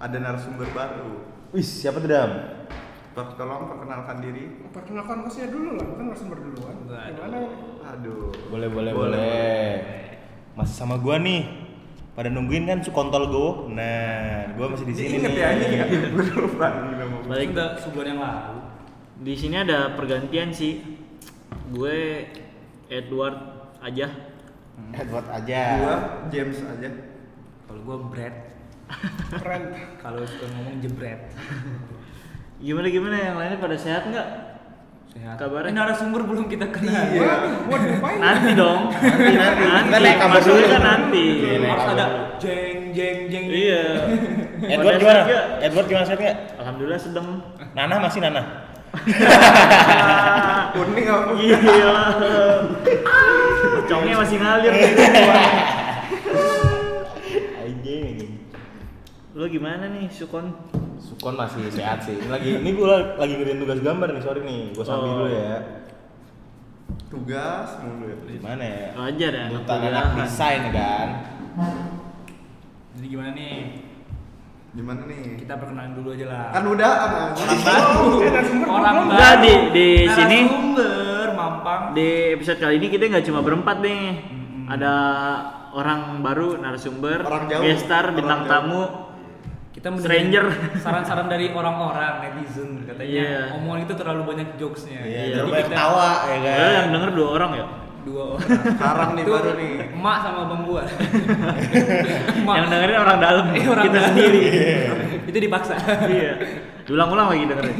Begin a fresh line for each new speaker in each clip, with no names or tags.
ada narasumber baru.
Wih, siapa tuh Dam?
Dok, tolong perkenalkan diri.
Perkenalkan hostnya dulu lah, kan narasumber duluan.
Nah,
Gimana?
Aduh.
Boleh, boleh, boleh. Masih sama gua nih. Pada nungguin kan Sukontol Go. Nah, gua masih di sini
Ingat
nih.
ya ini ya. Gue lupa nih nama gua.
Balik ke subur yang lalu.
Di sini ada pergantian sih. Gue Edward aja.
Edward aja.
Gua James aja.
Kalau gua bread,
Keren.
kalau suka ngomong jebret.
Gimana gimana yang lainnya pada sehat nggak?
Sehat.
Kabarnya?
Ini narasumber belum kita kenal.
Iya.
Wah, Gua dilupain.
Nanti dong. Nanti
nanti. Kita
nanti.
naik kabar
Maksudnya
dulu.
kan nanti.
Iya, naik
Harus
kabar
ada
dulu.
jeng jeng jeng.
Iya.
Edward
Pada
gimana?
sehat nggak?
Edward gimana sehat nggak?
Alhamdulillah sedang.
Nana masih Nana.
Ah,
Kuning apa?
Gila. Iya. Pocongnya masih ngalir. nih.
Anjing.
Lo gimana nih, Sukon?
Sukon masih sehat sih. Ini lagi ini gua lagi ngerjain tugas gambar nih, sorry nih. Gua sambil dulu
Oh.
ya.
Tugas mulu ya.
Gimana ya?
Oh, iya.
Wajar ya, anak
Buta anak
kuliahan.
desain kan.
Jadi gimana nih?
Gimana nih?
Kita perkenalan dulu aja lah.
Kan udah
Orang baru.
Ini narasumber
Orang
belum.
baru.
Enggak, di- di sini.
Narasumber mampang.
Di episode kali ini kita nggak cuma berempat nih.
Mm-mm.
Ada orang baru, narasumber,
Orang jauh.
guest star,
Orang
bintang
jauh.
tamu.
Kita mendengar
Stranger.
Saran-saran dari orang-orang netizen katanya
Iya.
omongan itu terlalu banyak jokesnya.
Iya,
Jadi
jangan banyak
kita-
ketawa ya
Padahal
kan.
yang denger dua orang ya.
dua orang.
Sekarang nih
Itu
baru nih.
Emak sama bang gua. Emak.
Yang dengerin orang dalam,
Iya, orang
kita
dalam.
sendiri.
itu dipaksa.
iya. Diulang-ulang lagi dengerin.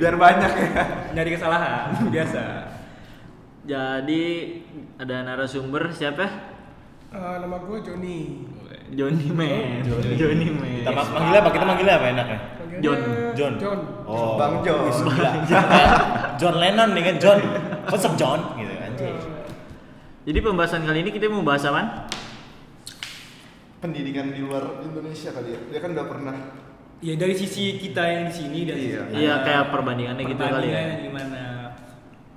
Biar banyak ya.
Nyari kesalahan biasa.
Jadi ada narasumber siapa?
Eh, nama gue Joni.
Joni Man. Joni
Iya,
Man.
Kita ma- manggilnya apa? Kita manggilnya apa enaknya?
Panggilnya
John.
John.
John.
Oh.
Bang John.
Wih, gila. John Lennon nih kan John. What's up John gitu kan.
Jadi pembahasan kali ini kita mau bahas apa?
Pendidikan di luar Indonesia kali ya. Dia kan udah pernah
Ya dari sisi kita yang di sini dan
Iya.
Iya, kayak perbandingannya gitu kali ya.
Ya, Perbandingannya gimana?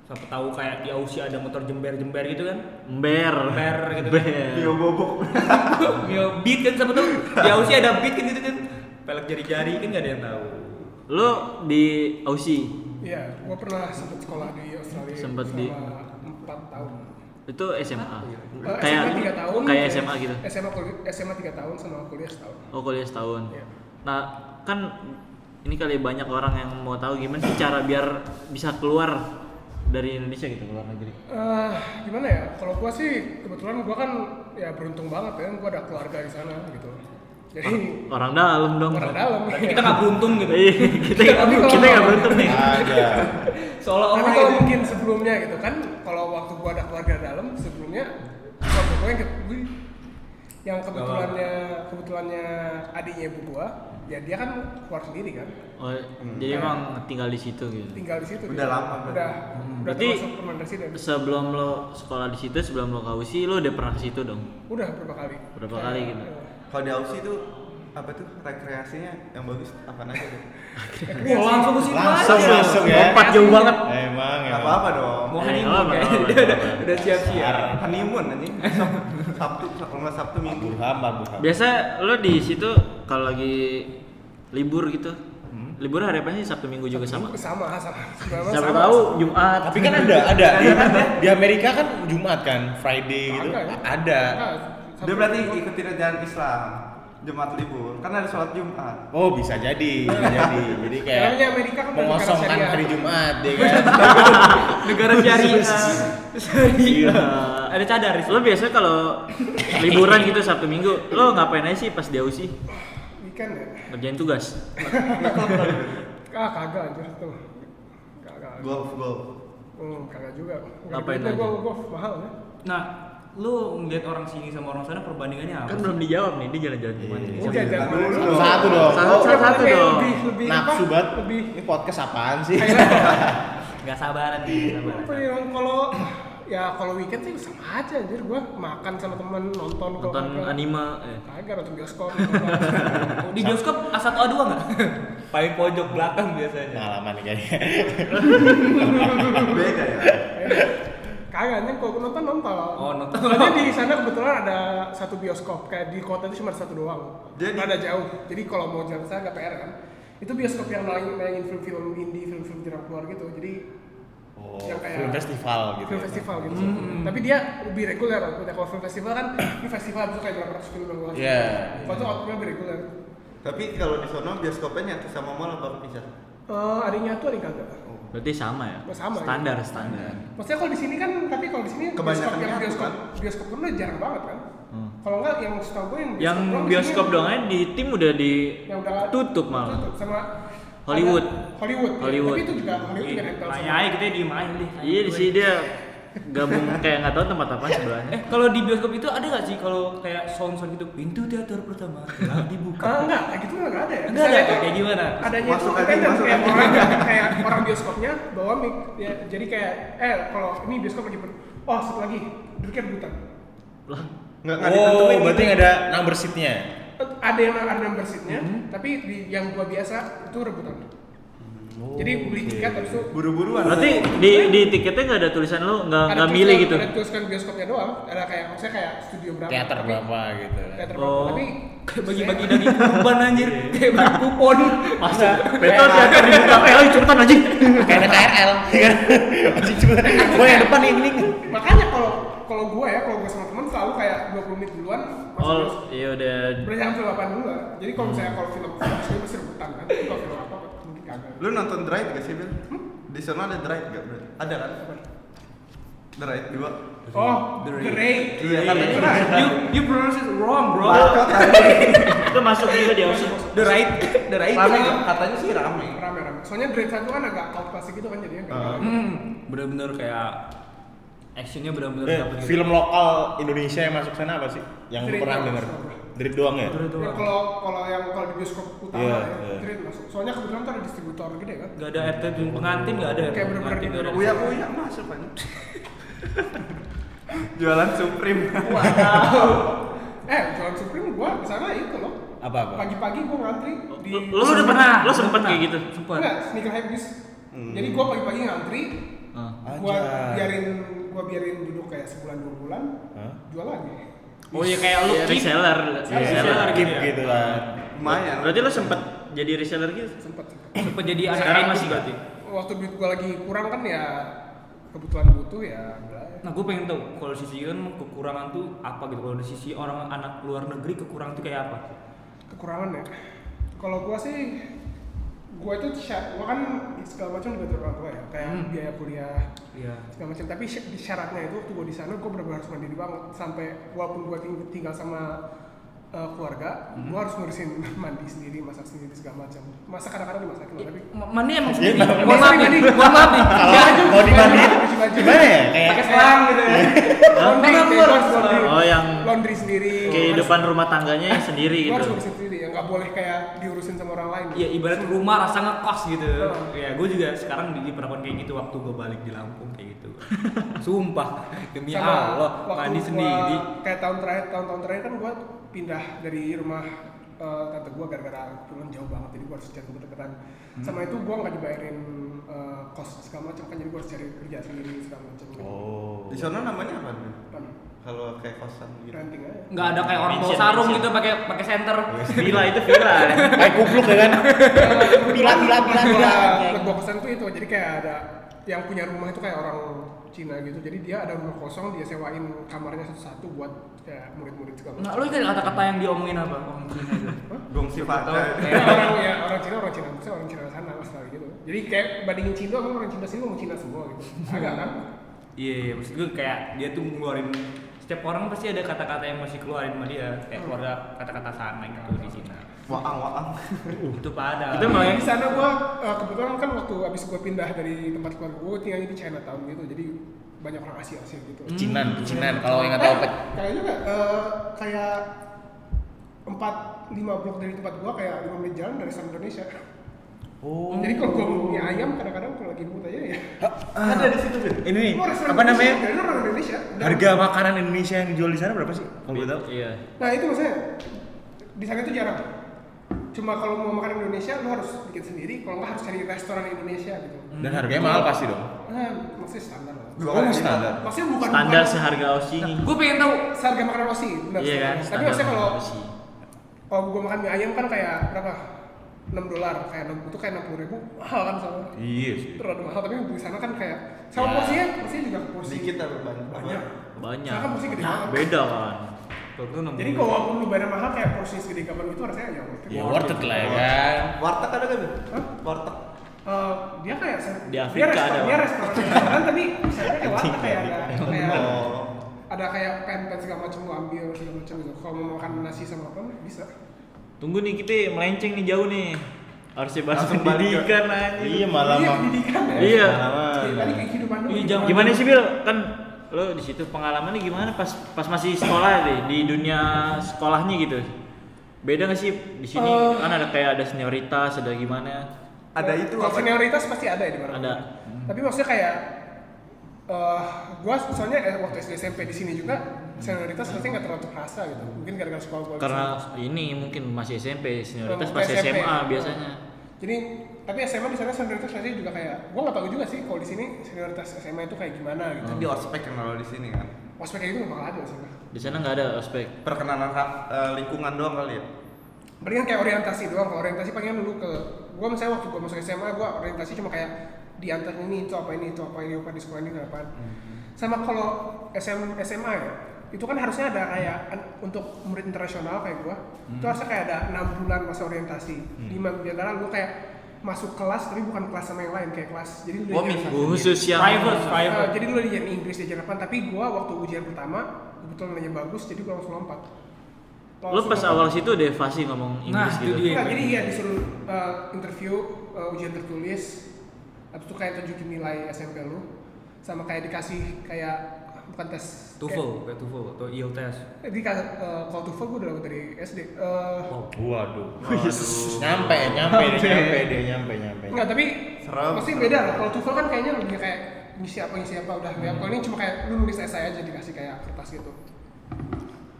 Siapa tahu kayak di Aussie ada motor jember-jember gitu kan?
Ember.
Ember gitu.
Ember.
Tio Bobok.
ya beat kan siapa tahu di Aussie ada beat kan gitu kan. Pelek jari-jari kan gak ada yang tahu.
Lo di Aussie
Iya, gue pernah sempat sekolah di Australia.
Sempet di-
selama empat tahun.
itu SMA.
Iya.
Eh,
Oh,
Kayak
SMA 3 tahun.
kayak SMA gitu.
SMA kuliah, SMA 3 tahun sama kuliah setahun.
Oh, kuliah setahun.
Iya.
Nah, kan ini kali banyak orang yang mau tahu gimana sih cara biar bisa keluar dari Indonesia gitu, keluar negeri.
Eh, gimana ya? Kalau gua sih kebetulan gua kan ya beruntung banget ya, gua ada keluarga di sana gitu. Jadi
Orang dalam dong.
orang dalam.
Tapi kita nggak beruntung gitu.
Iya, kita
Tapi kalau-
kita nggak beruntung nih.
Ada.
Tapi
Seolah-olah
kalau
itu
mungkin sebelumnya gitu kan, kalau waktu gua ada keluarga dalam sebelumnya, waktu gua yang ke, wih, yang kebetulannya kebetulannya adiknya ibu gua, ya dia kan keluar sendiri kan,
Oh,
Iya.
jadi emang tinggal di situ gitu.
tinggal di situ.
Udah
gitu.
lama berarti.
Udah, udah
Berarti-
termasuk permanent resident.
Sebelum lo sekolah di situ, sebelum lo kausi, lo udah pernah ke situ dong.
Udah berapa kali?
Berapa kali gitu?
Kalau di Aussie itu apa tuh rekreasinya yang bagus apa aja tuh?
mau langsung ke situ
Langsung
aja.
masuk ya.
Lompat jauh banget.
Emang
Gak
emang.
apa-apa dong.
Mau
Eh,
honeymoon
nggak
ya. Dia
apa-apa, nggak
udah
apa-apa.
udah siap-siap.
honeymoon nanti Sabtu kalau nggak Sabtu Minggu
Burham, Pak Burham.
Biasa lo di situ kalau lagi libur gitu. Libur hari apa sih? Sabtu Minggu juga sama.
Sama, sama. Sama,
Siapa tahu Jumat.
Tapi kan ada, ada. Di,
Iya.
di Amerika kan Jumat kan, Friday gitu.
Ada.
Ada.
dia berarti ikutin ajaran Islam Jumat libur kan ada sholat Jumat
Oh bisa jadi, bisa jadi. Jadi kayak
Namanya Amerika kan negara
mengosongkan
syariah.
hari Jumat, ya kan?
Negara syariah.
Iya.
Syariah. Ada cadar di situ.
Eh, Lo biasa kalau liburan gitu Sabtu Minggu, lo ngapain aja sih pas di Aussie?
Weekend ya?
Ngerjain tugas.
Ah, kagak anjir tuh. Kagak.
golf golf
Hmm, kagak juga. Nggak
Ngapain
duitnya
aja?
Gua, gua mahal ya.
Nah, lu ngeliat orang sini sama orang sana perbandingannya apa?
Kan
sih?
belum dijawab nih, dia jalan-jalan kemana nih?
Udah, jangan
dulu
dulu.
dong.
Satu dong.
Satu,
Oh,
satu, Iya. satu
Kayak
dong.
Lebih, lebih
Nafsu
apa?
banget.
Lebih.
Ini podcast apaan sih?
Gak sabaran nih, nggak sabaran.
Apa ya, kalau ya kalau weekend sih sama aja anjir gua makan sama temen nonton kalau
Nonton
kagak.
anime. eh.
Kagak nonton bioskop.
Oh, Di bioskop A1A2 nggak? Paling pojok belakang biasanya.
Pengalaman nih kayaknya.
beda ya
kagak anjir kalau gua nonton nonton kalau
Oh, nonton.
soalnya di sana kebetulan ada satu bioskop kayak di kota itu cuma ada satu doang
Jadi-
ada jauh jadi kalau mau jalan ke sana nggak PR kan itu bioskop yang nayangin nayangin film-film indie film-film tidak keluar gitu jadi
Oh,
Yang kayak-
film festival gitu.
film
ya.
festival gitu tapi dia lebih reguler udah kalau film festival kan ini festival itu kayak berapa ratus film yang keluar
Iya.
kalau itu outputnya lebih reguler
Tapi kalau di sono bioskopnya nyatu sama mall apa bisa?
Eh, ada yang nyatu ada yang kagak
Berarti sama ya?
Sama, ya.
standar, standar.
Maksudnya kalau di sini kan, tapi kalau di sini bioskop
Kebanyakan
yang
nyatu,
bioskop
kan?
bioskop pun udah jarang banget kan. Kalau enggak yang setahu gue yang
Yang
doang di
bioskop
sini
doang aja di tim udah di
Ya
yang Ya, udah
tutup malah.
tutup sama
Hollywood.
ada- Hollywood. ya.
Hollywood.
Tapi itu juga Hollywood juga nempel sama.
Ayah kita diem Iya. aja deh.
Iya di sini dia gabung kayak nggak tahu tempat apa sebelahnya.
Eh kalau di bioskop itu ada nggak sih kalau kayak sound sound gitu pintu teater pertama telah dibuka.
Ah, enggak, kayak gitu enggak ada
Enggak
ya.
ada,
Misalnya itu
gitu.
kayak gimana?
Adanya itu
Masuk aja,
independen
masuk
kayak
aja.
orang kayak orang bioskopnya bawa mic. Ya, jadi kayak eh kalau ini bioskop lagi ber- oh satu lagi duduknya rebutan.
Lah,
Nggak
Oh,
nggak
gitu
ditentuin. gitu.
berarti
ya?
nggak ada number seatnya.
ada yang ada number seatnya,
Hmm.
tapi di yang gua biasa itu rebutan.
Hmm.
Jadi beli tiket terus itu
Buru-buruan.
berarti di di tiketnya nggak ada tulisan lu nggak
Ada
nggak
tulisan-
milih gitu.
Ada tulisan bioskopnya doang. Ada kayak maksudnya kayak studio berapa?
Teater
tapi-
berapa gitu.
Teater
Oh.
berapa? Tapi
Kayak bagi-bagi daging kurban anjir, kayak bagi kupon.
Masa betul teater dibuka eh lu cepetan anjing.
Kayak ada KRL. Masih cuma gua yang depan nih nih.
makanya kalau kalau gue ya kalau gue sama teman selalu kayak 20 menit duluan masuk
Oh,
bioskop.
iya udah
Berarti yang film apa dulu lah. Jadi kalau misalnya kalau film film pasti masih rebutan kan. Tapi Kalau film apa mungkin kagak.
Lu nonton Drive gak sih, Bil? Hmm? Di sono ada Drive gak, Bro? Ada kan? Drive 2.
Oh,
The
The
Raid.
Raid.
Iya, katanya
Nah, you you pronounce it wrong, bro.
Bacot anjing.
itu masuk juga di Aussie.
The right, the right.
Rame nggak? Katanya sih rame.
Rame rame. Soalnya The Raid satu kan agak out klasik gitu kan jadinya nggak
Ah.
Hmm, bener-bener kayak actionnya bener-bener
Eh,
dapet gitu.
film lokal Indonesia yang masuk sana apa sih? Yang
Street
pernah
doang.
denger? Dari doang ya?
Bener
Ya,
doang.
kalau kalau yang kalau di bioskop utama
Iya,
ya,
iya.
The Raid masuk. Soalnya kebetulan tuh ada distributor gede kan.
Gak ada air terjun pengantin gak ada. air
Kayak
terjun
bener-bener gitu.
pengantin,
di-
nggak ada.
Uya uya masuk kan. Jualan Supreme.
Eh, Jalan Supreme gua di sana itu loh.
Apa-apa?
Pagi-pagi gua ngantri di
Lu lu udah pernah, lu sempet kayak gitu.
Sempet.
enggak sneakerhead bis. Jadi gua pagi-pagi ngantri, gua
Anjay.
biarin gua biarin duduk kayak sebulan dua bulan,
Hah?
jual lagi.
Oh iya kayak lu
Iya,
kick.
reseller,
Iya,
reseller.
Seller
keep
gitu ya.
iya.
gitu lah.
Lumayan.
Berarti lu sempet jadi reseller gitu?
Sempet. sempet.
Sempet jadi anak
Sekarang
IT
masih
juga.
berarti.
Waktu duit gua lagi kurang kan ya kebutuhan butuh ya. bla.
Nah, gue pengen tahu kalau di sisi kan kekurangan tuh apa gitu. Kalau di sisi orang anak luar negeri kekurangan tuh kayak apa?
Kekurangan ya. Kalau gua sih gua itu syarat, gua kan segala macam dibantu orang tua ya, kayak
Hmm.
biaya kuliah,
Iya.
segala macam tapi sy- di syaratnya itu waktu gue di sana gue benar-benar harus mandiri banget sampai walaupun gue tinggal sama uh, keluarga gue
Hmm.
harus ngurusin mandi sendiri masak sendiri segala macam masak kadang-kadang dimasakin loh, tapi
Mandi Iya, emang
Iya,
sendiri.
Bang.
Mohon maaf nih,
Mandi.
mohon maaf nih.
Kalau
iya,
mau dimandiin, gimana ya? Kayak
pakai selang gitu ya laundry
Makan
kayak gua harus
telur.
laundry
Oh, yang
laundry sendiri
Kehidupan rumah tangganya sendiri
gue harus
gitu.
ngurusin sendiri ya nggak boleh kayak diurusin sama orang lain
Iya ibarat rumah rasa ngekos gitu.
Betul.
Ya gue juga sekarang diperlakukan kayak gitu waktu gue balik di Lampung kayak gitu. Sumpah demi
Sama
Allah
waktu
mandi
gua-
sendiri.
kayak tahun terakhir tahun-tahun terakhir kan gue pindah dari rumah eh, tante gue gara-gara pulang jauh banget jadi gue harus cari kedekatan
Hmm.
sama itu gue nggak dibayarin eh, kos segala macam kan jadi gue harus cari kerja sendiri segala macam gitu.
Oh.
Di sono namanya apa? Bil?
Kan,
gitu.
Kalau kayak kosan gitu.
renting aja
Nggak ada kayak orang bawa
Mention,
sarung
mention.
gitu pakai pakai senter.
Villa itu villa.
Kayak kupluk ya kan?
iya,
Bila bila bila bila.
gue kesan tuh itu jadi kayak ada yang punya rumah itu kayak orang Cina gitu jadi dia ada rumah kosong dia sewain kamarnya satu-satu buat kayak murid-murid segala
Nah
macam
lu ingat kata-kata yang diomongin apa? Orang Cina itu.
Gongsi
Atau
pada.
kayak-
Kayak orang ya orang Cina orang Cina maksudnya orang Cina sana Australia gitu jadi kayak bandingin Cina sama orang Cina sini ngomong Cina semua gitu agak kan
Iya, iya, maksud gue kayak dia tuh ngeluarin setiap orang pasti ada kata-kata yang masih keluarin sama dia kayak keluar ada kata-kata sana gitu di Cina
Waang waang.
Uh. itu ya? pada
Itu mulai
Nah, di sana gua eh, kebetulan kan waktu abis gua pindah dari tempat keluarga gua tinggalnya di Chinatown gitu jadi banyak orang Asia Asia gitu
Cinan, Cinan. Kalau yang nggak tahu
Eh,
apa?
kayaknya nggak, eh, kayak empat lima blok dari tempat gua kayak lima menit jalan dari sama Indonesia
Oh.
jadi kalau gua mau mie ayam kadang-kadang kalau lagi mood aja ya
Ada di situ Bin. Ah, Ini nih,
Gua restoran
apa namanya?
Indonesia, dari orang Indonesia
Harga makanan Indonesia yang dijual di sana berapa sih? Kalau boleh tahu.
Iya.
Nah itu maksudnya di sana itu jarang. Cuma kalau mau makan Indonesia lu harus bikin sendiri, kalau nggak harus cari restoran Indonesia gitu.
Dan
Iya.
harganya mahal pasti dong.
Nah, maksudnya standar lah.
Dua
Oh,
kali
mustahil.
lipat.
Maksudnya bukan
Standar
bukan-
seharga Oshi nih.
Gue pengen tahu
seharga makanan Osi, benar.
Iya kan?
Tapi
Standar
maksudnya kalau
seharga Oshi.
kalau gua makan mie ayam kan kayak berapa? 6 dolar, kayak 6, itu kayak 60 ribu mahal kan sama
Iya sih.
itu rada mahal, tapi di sana kan kayak sama
Ya.
porsinya, porsinya juga porsi
sedikit tapi banyak
banyak
Banyak.
Soalnya kan mesti gede banget.
Beda kan.
Kalau itu enam
jadi
puluh.
kalau lu bayar mahal kayak porsi segede kapan gitu rasanya ya worth it.
Ya worth it lah ya kan.
warteg ada kan
Hah?
warteg
Eh, dia kayak
Di Afrika
dia restoran,
ada ya.
dia
warteg.
restoran restoran tapi misalnya kayak warteg kayak ada kayak ada-
Oh.
ada kayak pen-pen segala macam lu ambil segala macam gitu kalau mau makan nasi sama apa bisa
Tunggu nih kita melenceng nih jauh nih. Harusnya bahas
Langsung balik ke-
pendidikan anjing.
Iya malah
Iya,
mah.
pendidikan ya.
Iya.
Jadi tadi
Malaman.
kayak kehidupan lu
Iya, jangan-
Gimana sih Bil? Kan lo di situ pengalamannya gimana pas pas masih sekolah deh di dunia sekolahnya gitu. Beda gak sih di sini?
Eh.
Kan ada kayak ada senioritas, ada gimana?
ada itu
Kalau
apa
senioritas pasti ada ya di mana
Ada.
tapi maksudnya kayak eh gua soalnya eh, waktu SD SMP di sini juga senioritas pasti nggak terlalu terasa gitu mungkin gara-gara sekolah gua di sana.
Karena ini mungkin masih SMP, senioritas
Kalau
pas
SMP.
SMA biasanya.
jadi tapi SMA di sana senioritas pasti juga kayak gua nggak tahu juga sih kalau di sini senioritas SMA itu kayak gimana
Hmm.
gitu
di ospek yang kalau di sini kan
ospek kayak gitu nggak bakal ada sih Pak.
Di sana nggak ada ospek.
perkenalan ra- eh, lingkungan doang kali ya
Mendingan kayak orientasi doang. Kalau orientasi pengen lu ke gua misalnya waktu gua masuk SMA gua orientasi cuma kayak diantar ini itu apa ini itu apa ini apa di sekolah ini apa. Sama kalau SM, SMA ya, itu kan harusnya ada kayak an- untuk murid internasional kayak gua. Itu harusnya kayak ada enam bulan masa orientasi. Lima di antara lu kayak masuk kelas tapi bukan kelas sama yang lain kayak kelas. Jadi lu
Oh,
diajarin-
mis-
Khusus yang
Private,
Eh,
private.
jadi lu diajarin Inggris diajarin apa tapi gua waktu ujian pertama kebetulan nanya bagus jadi gua langsung lompat.
Lo
Langsung
pas
lompat.
awal situ udah fasih ngomong
Nah,
Inggris
itu
gitu.
dia.
Nah, jadi iya disuruh uh, interview, uh, ujian tertulis, habis itu kayak tunjukin nilai SMP lu, sama kayak dikasih kayak bukan tes.
TOEFL, kayak TOEFL atau IELTS. test.
Kayak, jadi kayak, uh, kalau TOEFL gue udah dapat dari SD. Uh,
Waduh. Nyampe, nyampe, dia nyampe, dia nyampe, nyampe.
Enggak, tapi
Serem.
pasti beda lah. Kalau TOEFL kan kayaknya lebih kayak ngisi apa ngisi apa udah. Ya, Kalau ini cuma kayak lu nulis esai aja dikasih kayak kertas gitu.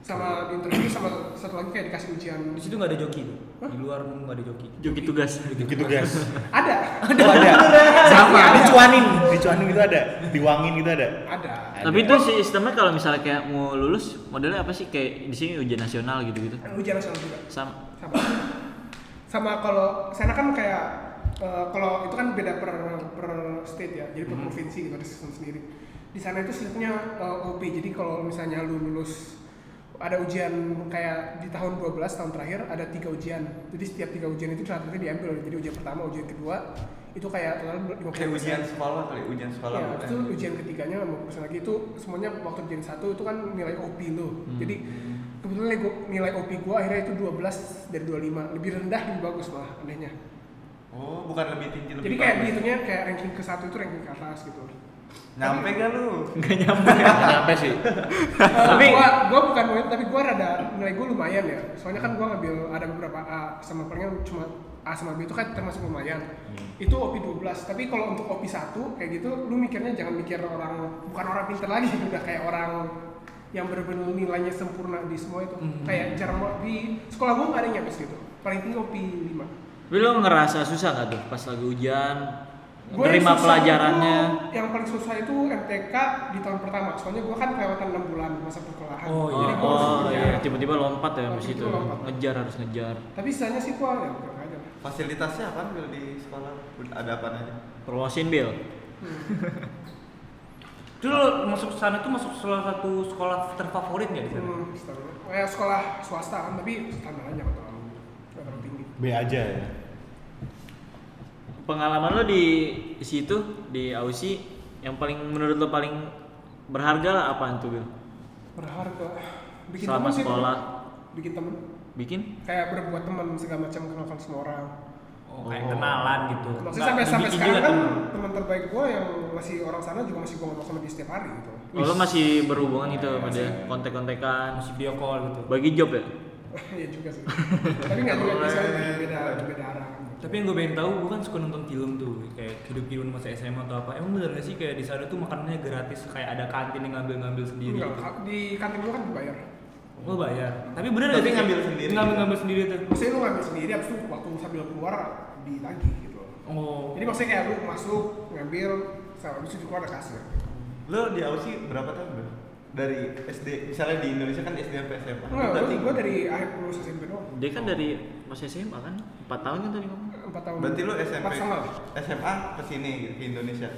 Sama di interview sama satu lagi kayak dikasih ujian.
Di situ nggak ada joki. tuh. Di luar nggak ada joki.
Joki tugas.
Gitu guys.
Ada.
Itu ada.
Sama.
Iya.
Dicuanin, dicuanin itu ada. Diwangin itu ada.
Ada.
Tapi itu sistemnya kalau misalnya kayak mau lulus modelnya apa sih kayak di sini ujian nasional gitu-gitu.
Ujian nasional juga.
Sama.
sama sama kalau sana kan kayak eh, kalau itu kan beda per per state ya jadi per
Mm-hmm.
provinsi gitu ada sistem sendiri di sana itu sistemnya eh, OP jadi kalau misalnya lu lulus ada ujian kayak di tahun 12 tahun terakhir ada tiga ujian jadi setiap tiga ujian itu catatnya diambil jadi ujian pertama ujian kedua itu kayak total 50
kayak ujian sekolah kali ujian sekolah
Ya,
bukan?
itu ujian ketiganya sama persen lagi itu semuanya waktu ujian satu itu kan nilai OP lo.
Hmm.
Jadi kebetulan nilai gua- nilai OP gua akhirnya itu 12 dari 25. Lebih rendah lebih bagus malah anehnya.
oh bukan lebih tinggi lebih
Jadi kayak
bagus.
dihitungnya kayak ranking ke satu itu ranking ke atas gitu.
nyampe gak lu
Nggak nyampe sih.
tapi
Tapi-
Eh, gua, gua bukan poin tapi gua rada nilai gua lumayan ya. Soalnya kan gua ngambil ada beberapa A sama palingnya cuma A sama B itu kan termasuk lumayan.
Hmm.
Itu OP 12. Tapi kalau untuk OP 1 kayak gitu lu mikirnya jangan mikir orang bukan orang pinter lagi udah kayak orang yang benar-benar nilainya sempurna di semua itu.
Hmm.
Kayak jarang banget di sekolah gua nggak ada yang nyampe segitu. Paling tinggi OP 5.
Tapi lo ngerasa susah nggak tuh pas lagi ujian?
Gua yang
Terima
susah
pelajarannya.
itu- yang paling susah itu MTK di tahun pertama. Soalnya gua kan kelewatan 6 bulan masa perkolahan.
Oh,
Oh,
gua harus
oh,
kerja.
iya. tiba-tiba lompat ya habis itu.
Tiba-tiba lompat.
Ngejar harus ngejar.
Tapi sisanya sih gua ya kurang aja lah.
fasilitasnya apa Bil, di sekolah ada apa aja
Promosin Bil.
Dulu masuk sana tuh masuk salah satu sekolah terfavorit nggak di sana?
Hmm, standar. Kayak sekolah swasta kan, tapi standar aja nggak terlalu nggak terlalu tinggi.
B aja ya.
Pengalaman lo di situ di Aussie yang paling menurut lo paling berharga lah apaan tuh Bil?
Berharga. Bikin
Selama
teman sih,
sekolah.
bikin temen
Bikin?
kayak berbuat teman segala macam kenalkan semua orang.
Oh, kayak kenalan gitu.
Maksudnya
Nggak,
sampai sampai
dibikin juga
sekarang kan
tuh.
teman terbaik gua yang masih orang sana juga masih gua ngomong sama dia setiap hari gitu.
Oh, lo masih berhubungan gitu sama dia, kontek-kontekan.
masih video call gitu.
Bagi job ya?
Iya juga sih. tapi nggak juga bisa beda beda arah.
Tapi yang gue pengen tahu, gue kan suka nonton film tuh, kayak hidup hidup masa SMA atau apa. Emang bener gak sih kayak di sana tuh makanannya gratis, kayak ada kantin yang ngambil-ngambil sendiri
Enggak,
gitu.
di kantin gua kan dibayar.
Gue bayar. Tapi bener
Tapi
nggak sih?
ngambil sendiri.
Ngambil ngambil sendiri tuh.
maksudnya lu ngambil sendiri abis itu waktu sambil keluar di lagi gitu loh.
Oh.
jadi maksudnya kayak lu masuk ngambil sama abis itu keluar ada kasir
Lo di Aussie berapa tahun bro? Dari SD, misalnya di Indonesia kan SD sampai SMA.
enggak
berarti
gue, gue dari akhir lulus SMP doang
Dia kan dari masih SMA kan? 4 tahun kan tadi ngomong.
empat tahun
Berarti lo SMP,
empat sama
SMA ke sini gitu, ke Indonesia.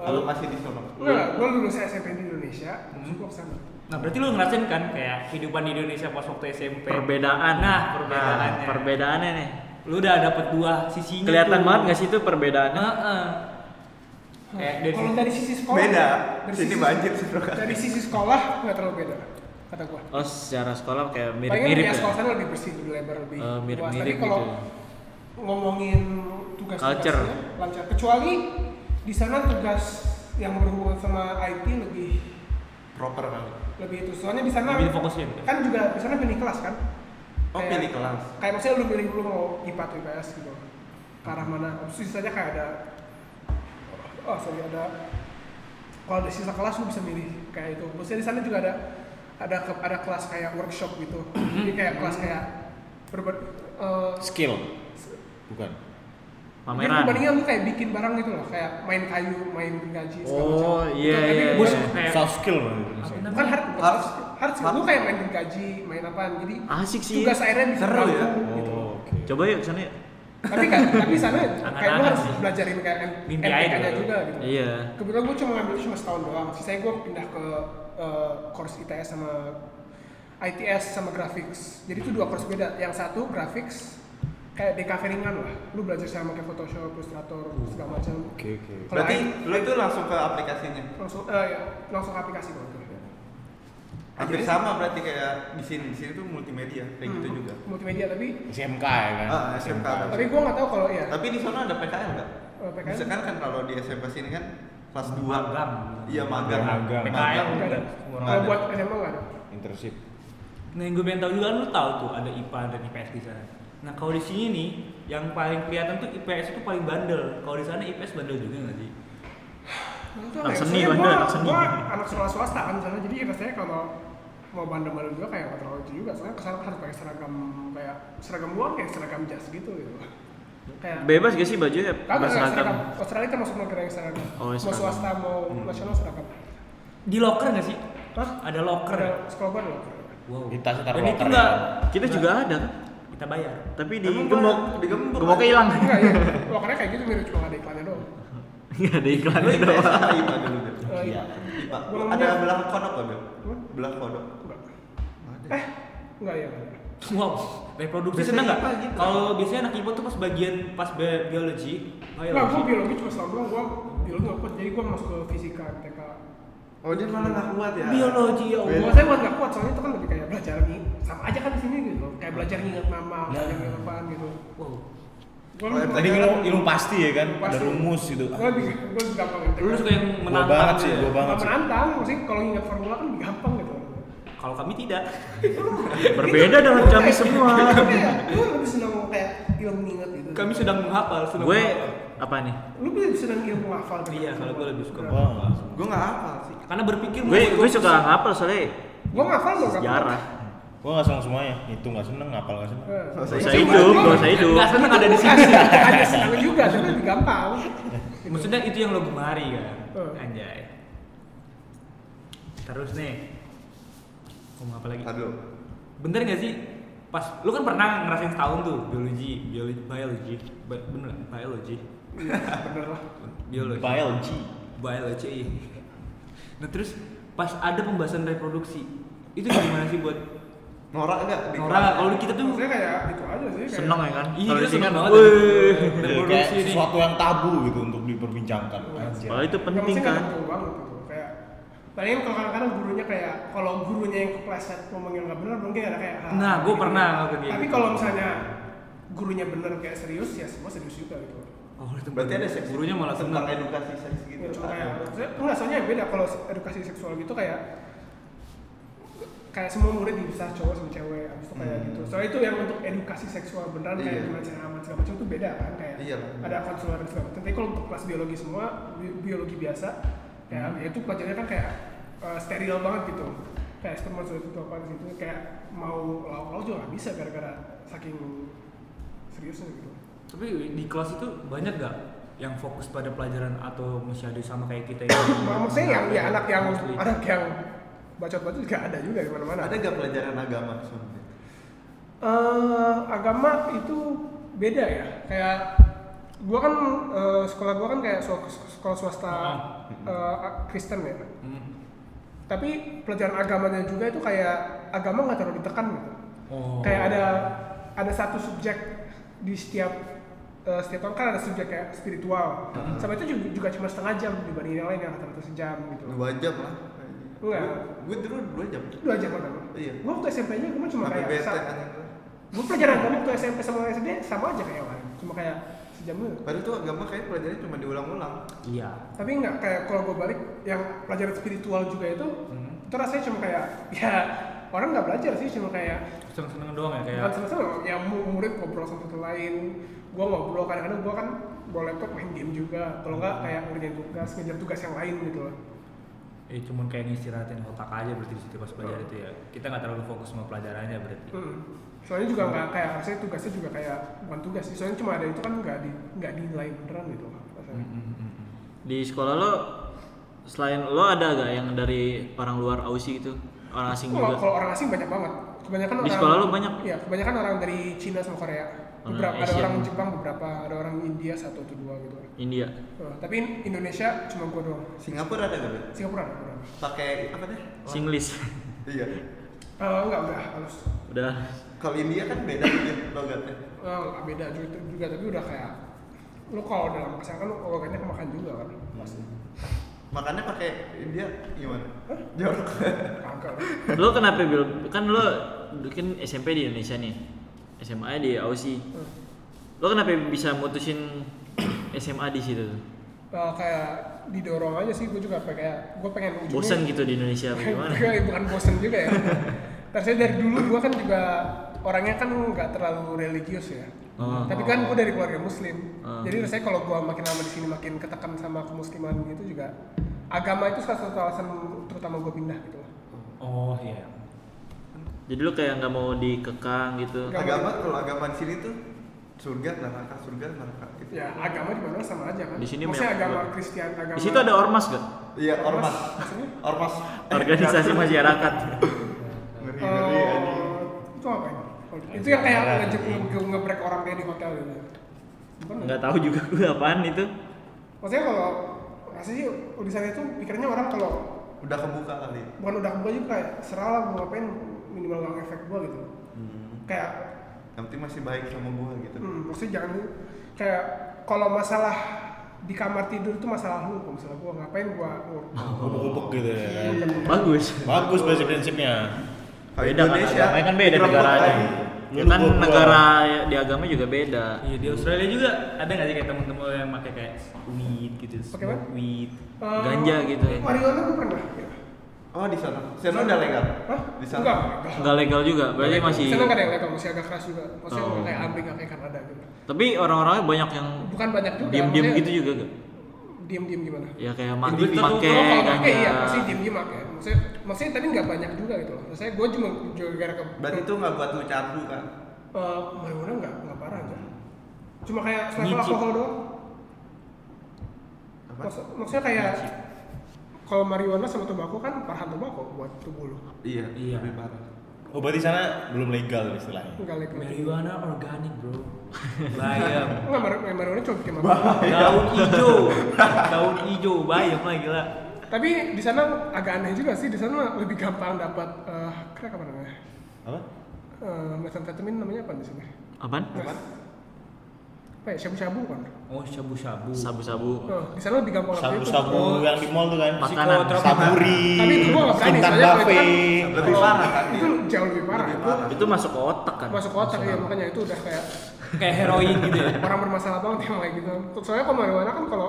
Kalau masih di sono.
enggak gue lulus SMP di Indonesia
Hmm.
terus gue kesana
Nah berarti lu ngerasain kan kayak kehidupan di Indonesia pas waktu SMP.
Perbedaan.
Nah perbedaannya. Gitu.
Nah, perbedaannya nih.
lu udah dapet dua sisinya.
Kelihatan
tuh.
banget nggak sih itu perbedaannya?
Heeh. Kayak dari
kalau dari sisi sekolah
Beda.
dari
Sini
sisi-
banjir sih, bro.
dari sisi sekolah nggak terlalu beda kata gue
Oh, secara sekolah kayak
Pengen
mirip-mirip
ya,
ya.
sekolah sana lebih bersih, lebih lebar, lebih
Eh, mirip-mirip
luas. Tapi
gitu
kalau
ya.
ngomongin tugas-tugasnya,
Culture.
lancar. Kecuali di sana tugas yang berhubungan sama IT lebih
Proper kali.
lebih itu. Soalnya di sana
Lebih fokusnya gitu.
kan juga di sana pilih kelas kan.
Oh
Kayak-
pilih kelas.
Kayak maksudnya lu pilih dulu mau IPA atau IPS gitu. Ke arah mana? Terus sisanya kayak ada oh sorry ada kalau ada sisa kelas lu bisa milih kayak itu. Maksudnya di sana juga ada ada ke- ada kelas kayak workshop gitu.
Mm-hmm.
Jadi kayak kelas kayak berber eh,
Skill. Bukan.
Pameran.
Perbandingan lu kayak bikin barang gitu loh, kayak main kayu, main gaji segala macam. gitu.
Oh, iya
Bukan,
iya.
tapi
iya.
bus- Kayak-
Soft skill lah.
Apa
Bukan hard, bukan
Hard-
hard, skill. hard skill. Lu kayak main gaji, main apaan. Jadi
Asik sih.
tugas akhirnya bisa
Seru ya?
nabung gitu.
Oh, oke.
Coba yuk kesana yuk.
Tapi kan, tapi sana kayak lu
Angan-angan
harus
sih.
belajarin kayak
Mimpi
MTK-nya
aja.
juga gitu.
Iya.
Kebetulan gue cuma ngambil cuma setahun doang. Sisanya gue pindah ke eh, course ITS sama ITS sama graphics. Jadi itu dua course beda. Yang satu graphics kayak DKV ringan lah. Lu belajar sama kayak Photoshop, Illustrator, segala macam.
Oke, oke.
Kalau
Berarti
I-
lo itu langsung ke aplikasinya.
langsung eh, ya, langsung ke aplikasi kalau itu.
Hampir sama berarti kayak di sini. Di sini tuh multimedia kayak gitu
Hmm,
juga.
Multimedia tapi
SMK ya kan?
Ah, SMK.
tapi gua nggak tahu kalau ya.
Tapi di sono ada PKL nggak?
Eh, PKL.
Misalkan kan kalau di SMP sini kan kelas 2
Magang.
Iya magang.
Magang.
PKL.
Nggak ada.
Nggak
Kalau
ada.
buat SMA nggak ada.
Internship.
Nah yang gue pengen tahu juga kan lu tahu tuh ada IPA dan IPS di sana. Nah kalau di sini nih yang paling kelihatan tuh IPS itu paling bandel. Kalau di sana IPS bandel juga nggak sih?
Itu
Anak
ya,
seni,
soalnya
Wanda,
gua-
anak seni.
gua anak sekolah swasta kan sana jadi rasanya kalau mau bandel-bandel juga kayak nggak terlalu itu juga. Soalnya kesana harus pakai seragam kayak seragam luar kayak seragam jas gitu gitu. Kayak
Bebas gak sih bajunya
Kagak, nggak,
berseragam?
Australia termasuk negara yang seragam.
Oh,
mau
seragam. Hmm.
swasta mau nasional seragam.
Di locker nggak sih?
Hah?
Ada locker. ya?
Ada sekolah gua ada locker.
Wow.
Di tasnya taruh
Dan itu
locker ya?
nggak
Kita juga ada kan?
kita bayar.
Tapi di
Emang
gemuk,
gua- di gemuk.
gemuknya hilang.
Enggak ya, lokernya kayak gitu mirip cuma nggak ada iklannya doang.
Enggak ada iklan
Lo IPS
doang.
sama IPA dulu Bel?
Eh,
Iya.
IPA.
Belum
Ada
ada.
belah kodok nggak Bel?
Belum.
Belah kodok.
Enggak.
Ada.
Eh, enggak ya. enggak.
Wow. Reproduksi
Biasanya
seneng nggak?
IPA gitu.
Kalau biasanya anak IPA tuh pas bagian pas bi- biologi. Oh,
Nah,
Enggak, gue biologi cuma setahun doang, gue biologi gak kuat, jadi gue masuk ke fisika, TK
Oh dia malah nggak kuat ya.
Biologi ya
Bel.
Gue
Allah.
saya buat gak kuat, soalnya itu kan lebih kayak belajar nih Sama aja kan di sini gitu, kayak belajar nginget nama,
Nah.
belajar nginget apaan gitu
Wow.
Gue
Oh,
Tadi ilmu, ilmu pasti ya kan?
Pasti.
Ada rumus gitu.
Gue lebih, gue lebih gampang nginget
Lu suka yang
Gua
menantang
banget sih,
ya?
gua banget
Gak
sih.
menantang, maksudnya kalau nginget formula kan lebih gampang gitu
Kalau kami tidak.
Berbeda dengan
Lu
kami
kayak-
semua.
lu kayak- Lu lebih seneng kayak ilmu nginget gitu
Kami sedang menghafal. sedang
Gue
menghafal.
apa nih?
Lu lebih seneng ilmu hafal gitu
Iya, kalau gue lebih suka.
Wah.
Gue nggak hafal sih.
Karena berpikir
Gue
menurut
gue suka hafal soalnya
Gue ngafal loh, gak kuat.
sejarah.
Gua nggak seneng semuanya. Itu nggak seneng, ngapal nggak seneng.
Eh.
Nggak usah
Gak usah
Cuma
hidup,
gua-
gak usah hidup.
Nggak seneng ada di
Bukan,
sini.
ada senang juga, tapi lebih gampang.
Maksudnya itu yang lo gemari kan?
Eh.
Anjay. Terus nih. Ngomong apa lagi?
Aduh.
Bener gak sih? Pas lu kan pernah ngerasain setahun tuh biologi, biologi, biologi, Bi- bener nggak? biologi,
Iya, bener lah.
biologi,
Biology.
biologi. iya. Nah terus pas ada pembahasan reproduksi itu gimana sih buat
Norak nggak? di kelas?
orang? Kalau kita tuh
Maksudnya kayak itu aja sih. kayak-
Seneng ya kan?
Iya,
Kalau
kita
di sini
seneng
kan,
banget.
wih.
Jadi
reproduksi
kayak
nih.
sesuatu yang tabu gitu untuk diperbincangkan. Anjir.
Padahal itu
Yang
penting
maksudnya
kan.
nggak betul banget gitu. Kayak paling kalau kadang-kadang gurunya kayak kalau gurunya yang kepleset ngomong yang nggak benar mungkin ada kayak. ah,
Nah, gua
gitu.
pernah ngelakuin kayak
Tapi
gitu.
kalau misalnya gurunya benar kayak serius ya semua serius juga gitu.
Oh, itu
Berarti ada seks.
gurunya malah
tentang
seneng.
edukasi seks gitu.
Ya, cuma kayak maksudnya, enggak soalnya beda kalau edukasi seksual gitu kayak kayak semua murid dipisah cowok sama cewek abis itu kayak gitu soalnya itu yang untuk edukasi seksual beneran kayak
Hmm. Iya.
gimana cara aman segala macam itu beda kan kayak
Iya lah.
ada konselor dan segala macam tapi kalau untuk kelas biologi semua
Hmm.
bi- biologi biasa ya itu pelajarannya kan kayak eh, steril banget gitu PS tuh masuk itu apaan sih itu kayak mau lauk-lauk juga nggak bisa gara-gara saking seriusnya gitu
Tapi di kelas itu banyak gak yang fokus pada pelajaran atau musyadi sama kayak kita ini?
maksudnya yang ya anak yang
Mostly.
anak yang bacot-bacot juga ada juga di mana-mana
Ada gak pelajaran agama sebenarnya?
Eh, agama itu beda ya. Kayak gua kan eh, sekolah gua kan kayak so- sekolah swasta eh, a- Kristen ya.
Hmm.
Tapi pelajaran agamanya juga itu kayak agama nggak terlalu ditekan gitu.
Oh.
Kayak ada ada satu subjek di setiap eh, setiap tahun kan ada subjek kayak spiritual. Sama itu juga, juga cuma setengah jam dibanding yang lain yang rata-rata sejam gitu.
Dua jam lah.
Enggak.
Gue dulu dua jam.
Dua jam agama.
Iya.
Gua waktu SMP-nya gua cuma
Sampai
kayak
bete
sa-
kan itu.
gue pelajaran agama waktu SMP sama SD sama aja kayak yang lain cuma kayak sejam dulu
Padahal tuh agama kayak pelajarannya cuma diulang-ulang.
Iya.
tapi nggak kayak kalau gue balik yang pelajaran spiritual juga itu
Hmm.
itu rasanya cuma kayak ya orang nggak belajar sih cuma kayak
Seneng-seneng doang ya kayak.
bukan seneng-seneng yang murid ngobrol sama satu lain gue ngobrol kadang-kadang gue kan bawa laptop main game juga kalau
Hmm.
nggak kayak ngerjain tugas ngejar tugas yang lain gitu loh
Eh cuman kayak ngistirahatin otak aja berarti di situ pas belajar itu ya. Kita nggak terlalu fokus sama pelajarannya berarti.
Mm. soalnya juga nggak
Hmm.
kayak rasanya tugasnya juga kayak bukan tugas sih soalnya cuma ada itu kan nggak di nggak dinilai beneran gitu
Hmm.
rasanya
Di sekolah lo selain lo ada gak yang dari orang luar Aussie gitu? Orang asing
Kalau
juga?
kalau orang asing banyak banget. Kebanyakan
Di
orang
sekolah lu banyak?
Iya, kebanyakan orang dari Cina sama Korea.
Orang
Beberapa ada
Asian.
orang Jepang, beberapa ada orang India satu atau dua gitu.
India.
Nah, tapi in- Indonesia cuma gua doang.
Singapura ada gak? Bel?
Singapura ada kurang.
Pakai apa deh?
Singlish.
Iya.
Eh, enggak udah halus.
Udah.
Kalau India kan beda gitu logatnya.
Eh, enggak beda juga, juga, tapi udah kayak lu kalau dalam kesana kan lu organnya kemakan juga kan pasti
Makannya pakai India gimana? Jorok.
kagak
Lo kenapa Bil? Kan lo kan SMP di Indonesia nih. SMA di Aussie. Lo kenapa bisa mutusin SMA di situ? tuh?
Eh, kayak didorong aja sih gua juga kayak gua pengen ujungnya
Bosan gitu di Indonesia apa gimana?
Gue bukan bosen juga ya. Terus dari dulu gue kan juga orangnya kan nggak terlalu religius ya.
Oh.
Tapi kan gue dari keluarga muslim.
Oh.
Jadi rasanya kalau gue makin lama di sini makin ketekan sama kemusliman gitu juga. Agama itu salah satu alasan terutama gue pindah gitu.
Oh iya.
Jadi lo kayak nggak mau dikekang gitu.
Nggak.
Agama kalau agama di sini tuh surga neraka surga neraka gitu.
Ya agama di mana sama aja kan.
Di sini
Maksudnya
banyak-
agama Kristen, agama.
Di situ ada ormas gak?
Iya ormas.
Maksudnya?
Ormas.
Organisasi masyarakat.
Ngeri ngeri
eh,
anjing.
itu apa ya? Itu yang kayak ngejek ngebrek orang kayak di hotel gitu. Bukan ya?
Nggak tahu juga gue apaan itu.
Maksudnya kalau rasanya sih tulisannya itu pikirnya orang kalau
Udah kebuka kali.
bukan udah gue juga kayak serah lah gue ngapain minimal gak efek gue gitu
Hmm.
kayak
Yang penting masih baik sama gua gitu.
hmm, maksudnya jangan lu kayak kalau masalah di kamar tidur itu masalah lu kalau misalnya gue ngapain gue
Ubek-ubek gitu ya kan.
Bagus.
Bagus prinsip-prinsipnya.
Kalau
Beda kan agamanya kan beda
dikerompok
negaranya.
lagi.
Lu
Ya kan
gua- gua-
negara di agama juga beda.
Iya di Australia juga ada nggak sih kayak temen-temen lo yang pakai kayak weed gitu,
Pakai apa?
smoke weed.
Ganja gitu ya.
marijuana gue Eh, pernah ya.
Oh di sana. Sana udah legal.
Hah?
Di sana.
enggak
Nggak legal juga. Berarti masih.
sana gak ada yang legal masih agak keras juga maksudnya
Oh.
nggak kayak Amerika nggak kayak Kanada gitu
Tapi orang-orangnya banyak yang
bukan banyak juga
diem-diem
maksudnya
gitu juga gak?
diem-diem gimana
Ya kayak
Kalau-
mati
kalau
pakai
pakai,
ganja.
iya pasti diem-diem pakai maksudnya maksudnya tapi nggak banyak juga gitu loh maksudnya gue cuma juga gara ke
Berarti itu nggak buat lu candu kan?
Eh, marijuana nggak nggak parah aja. Cuma kayak selevel
Nyicip.
alkohol doang.
Apa?
Maksud, maksudnya kayak kalau marijuana sama tembakau kan parah tembakau buat tubuh lu.
Iya.
Iya.
Lebih parah.
Oh berarti sana belum legal istilahnya.
Enggak legal.
Marijuana organic bro. Bayam.
Enggak mar eh, marijuana cuma bikin mabuk.
daun hijau daun hijau bayam lah gila
Tapi di sana agak aneh juga sih. Di sana lebih gampang dapat eh crack apa namanya?
Apa?
Eh metamfetamin namanya apa di sini?
Apaan?
Apa ya? Shabu-shabu kan.
oh shabu shabu
Sabu-sabu.
Eh, di sana lebih gampang dapat itu.
Sabu-sabu yang di mall tuh kan.
Makanan.
Saburi.
Tapi itu gua nggak berani,
Bintang
soalnya kalau itu
Cafe.
kan-
Lebih parah kan?
Itu jauh lebih parah.
Lebih
Itu
parah.
Itu masuk ke otak kan?
Masuk otak ya makanya itu udah kayak
kayak heroin gitu ya
orang bermasalah banget yang kayak gitu soalnya kalau marijuana kan kalau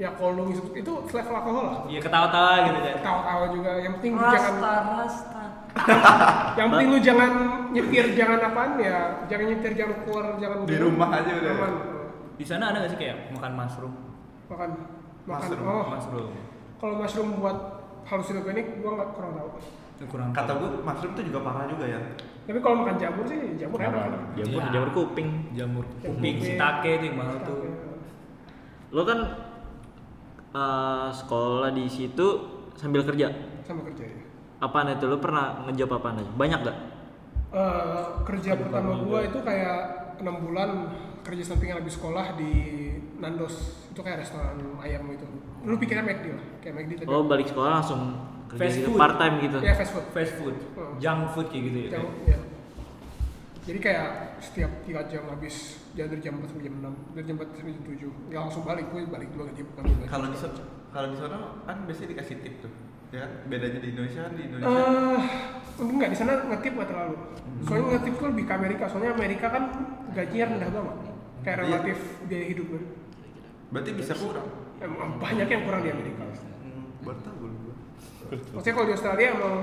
ya kalau lu ngisep itu level alkohol lah
ya ketawa-tawa gitu kan
tawa-tawa juga yang penting lu jangan
rasta rasta
yang penting lu jangan nyetir jangan apaan ya jangan nyetir jangan keluar jangan
Di rumah aja udah.
aman
di sana ada nggak sih kayak makan mushroom
makan makan
Mushroom,
oh
mushroom
kalau mushroom buat halusinogenik gua nggak kurang tahu
kurang
Kata gue mushroom tuh juga parah juga ya.
Tapi kalau makan jamur sih jamur enak. kan?
Jamur,
Iya.
jamur kuping.
jamur kuping shiitake itu yang mahal tuh
Lo kan eh, sekolah di situ sambil kerja.
Sama kerja ya.
Apaan itu? Lo pernah ngejawab apaan aja? Banyak gak?
Eh, kerja pertama gua itu kayak enam bulan kerja sampingan habis sekolah di Nandos itu kayak restoran ayam gitu lu pikirnya McD lah kayak McD tapi
Oh,
Lo balik sekolah langsung kerja
Fast
gitu,
food.
part time gitu.
ya fast food
Iya,
fast food
Hmm.
junk food kayak gitu ya
Jam- ya. jadi kayak setiap tiga jam habis jadi dari jam 4 sampai jam 6 dari jam 4 sampai jam 7 nggak langsung balik gue balik dua jam bukan balik
Kalau di sana, kalau di sana kan biasanya dikasih tip tuh. Ya kan? Bedanya di Indonesia kan di Indonesia.
Eh, enggak di sana ngetip nggak terlalu.
Hmm.
Soalnya ngetip tuh lebih ke Amerika. Soalnya Amerika kan gajinya rendah banget. Kayak
Iya.
relatif biaya hidup kan.
Berarti bisa kurang.
Emang banyak yang kurang di Amerika.
Hmm, baru tahu gue.
Maksudnya kalau di Australia emang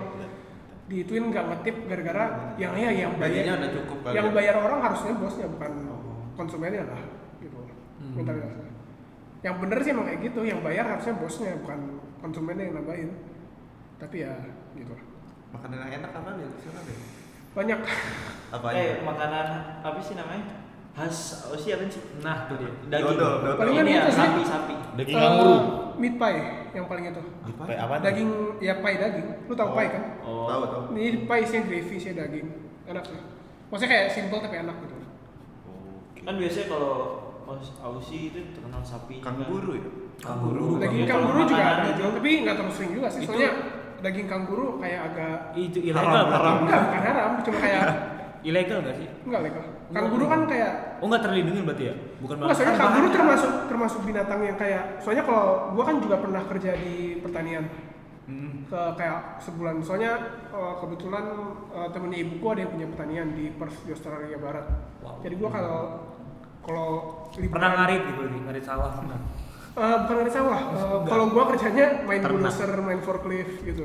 diituin nggak ngetip gara-gara yang ya yang
Gajinya
bayar
udah cukup kali.
yang
ya.
bayar orang harusnya bosnya bukan konsumennya lah gitu mentalitasnya. Yang bener sih emang kayak gitu. Yang bayar harusnya bosnya bukan konsumennya yang nambahin. Tapi ya gitu lah.
Makanan yang enak apa ya di sana deh?
Banyak.
Apa aja?
Eh, makanan apa sih namanya? Khas Aussie apa sih? Nah, tuh dia.
Dodol, dodol.
Palingan
Ini ya,
itu sih.
sapi-sapi.
Daging
Eh,
kanguru.
meat pie yang paling itu.
Apa?
Apa? Apa?
Daging ya pie daging. Lu tahu pie kan?
Oh.
Tahu tahu.
Ini pie isinya gravy isinya daging. Enak sih. Maksudnya kayak simple tapi enak gitu.
Kan biasanya kalau Aus- Aussie itu terkenal sapi.
Kanguru
Eh,
ya?
Kanguru.
Daging
Kalau
kanguru juga
makanan
ada,
itu-
Jol, tapi nggak terlalu sering juga sih.
Itu-
Soalnya daging kanguru kayak agak
itu ilegal
Haram,
berarti.
haram.
enggak bukan haram, cuma kayak
ilegal gak sih
enggak legal. Kanguru kan kayak
oh nggak terlindungi berarti ya bukan
Enggak,
bahan-
soalnya
kan
kanguru
bahannya-
termasuk termasuk binatang yang kayak soalnya kalau gua kan juga pernah kerja di pertanian ke kayak sebulan soalnya eh, kebetulan eh, temennya ibuku ada yang punya pertanian di Perth di Australia Barat
Wow.
jadi gua kalau kalau
pernah
liburan-
ngarit gitu berarti ngarit sawah pernah
Eh, bukan dari sawah Eh, kalau gua kerjanya main
Ternak.
bulldozer main forklift gitu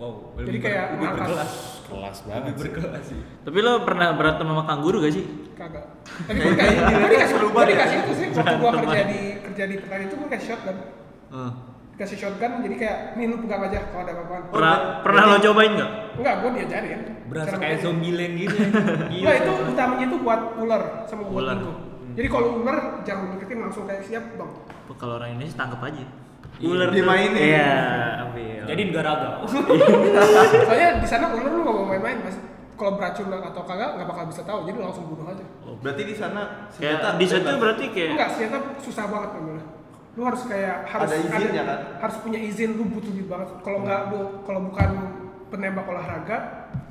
wow
jadi
lebih ber-
kayak
lebih berkelas
Kelas
lebih
banget. sih.
berkelas sih
Tapi lo pernah berantem sama kangguru gak sih?
kagak tapi gua dikasih gua dikasih gua
ya?
dikasih itu sih waktu gua
Berantem
kerja
aja.
di kerja di pertanian itu gua kasih shotgun
Heeh.
dikasih shotgun jadi kayak nih lu pegang aja kalau ada apa-apaan
Pernah pernah lo cobain nggak?
enggak gua diajarin
berasa
Cara
kayak
pakai-
zombie land gitu Hmm.
Enggak, itu utamanya itu buat ular sama buat
Ular.
pintu. Jadi kalau ular jangan deketin langsung kayak siap bang.
Kalau orang Indonesia tangkap aja.
Iya,
Ular tuh.
dimainin.
Iya, ambil.
jadi nggak raga
Soalnya di sana ular lu nggak mau main-main mas. Kalau beracun atau kagak nggak bakal bisa tahu. Jadi langsung bunuh aja.
Berarti di sana
kayak
senjata
di situ
bebas.
berarti kayak
Enggak, senjata susah banget memang. Lu harus kayak harus
Ada izinnya, kan? Hmm.
Harus punya izin lu butuh duit banget. Kalau nggak lu kalau bukan penembak olahraga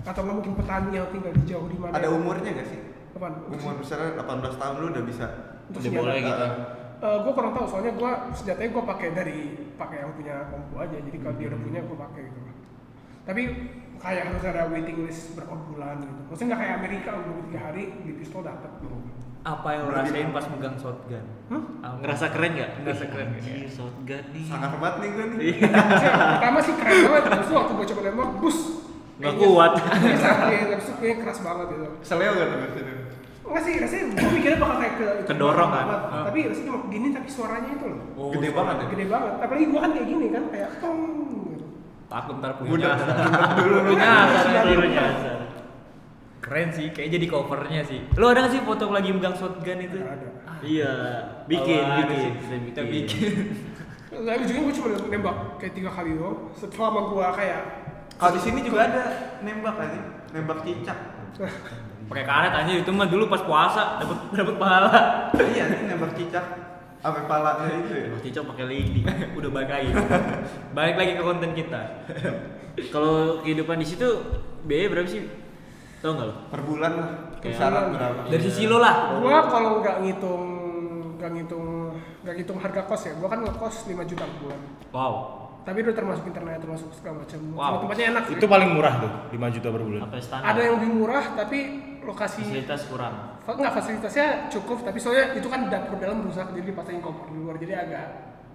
atau nggak mungkin petani yang tinggal di jauh di mana.
ada umurnya gak sih?
Apaan?
Umur misalnya 18 tahun lu udah bisa.
Untuk
udah
senjata.
boleh gitu.
Eh, gue kurang tahu soalnya gue senjatanya gue pakai dari pakai yang punya kompo aja jadi kalau dia udah
Hmm.
punya gue pakai gitu kan tapi kayak harus ada waiting list berapa bulan gitu maksudnya nggak kayak Amerika untuk tiga hari di pistol dapat gitu
apa yang lo rasain pas megang shotgun
Hah?
Apa?
Ngerasa keren nggak?
Ngerasa keren,
Anjir, shotgun nih.
Sangat hebat nih gue nih.
Iya.
Maksudnya pertama sih keren banget terus waktu gue coba nembak bus
Nggak kuat.
Iya, sakit, habis itu kayaknya keras banget gitu
Seleo gak tuh berarti? tuh?
Enggak sih, rasanya gue mikirnya bakal kayak ke
Kedorong kan?
banget. Tapi rasanya cuma gini tapi suaranya itu loh
Oh,
Gede banget ya?
Gede banget, apalagi gue kan kayak gini kan, kayak tong gitu
takut ntar punya
Mudah.
Iya.
nyasar.
Dulu lu
Nah,
Sudah
seluruh
diungkap.
nyasar.
keren sih kayak jadi covernya sih lo ada nggak sih foto lagi megang shotgun itu
Nggak ada.
Iya, bikin,
Awal ada
bikin,
sih.
Saya
Kita
bikin. nah.
Tapi nah, ujungnya gue cuma nembak kayak tiga kali doang Selama gue kayak
Kalau di sini juga ada nembak aja, nembak cicak.
pakai karet aja itu mah dulu pas puasa dapat dapat pahala
iya, ini nembak cicak. Apa palanya itu ya?
Mas Cicok pakai lidi.
udah balik lagi balik lagi ke konten kita
Kalau kehidupan di situ biaya berapa sih? Tahu nggak lo?
Per bulan lah.
Kayak
Kisaran berapa?
dari sisi lo lah
gua
Nah.
kalau nggak ngitung nggak ngitung nggak ngitung harga kos ya gua kan ngekos 5 juta per bulan
wow
tapi udah termasuk internet termasuk segala macam
Wow.
Cuma tempatnya enak sih.
Itu paling murah tuh, 5 juta per bulan.
Apa standar?
ada yang lebih murah tapi lokasi
fasilitas kurang.
fa- nggak fasilitasnya cukup tapi soalnya itu kan dapur dalam rusak jadi dipasangin kompor di luar jadi agak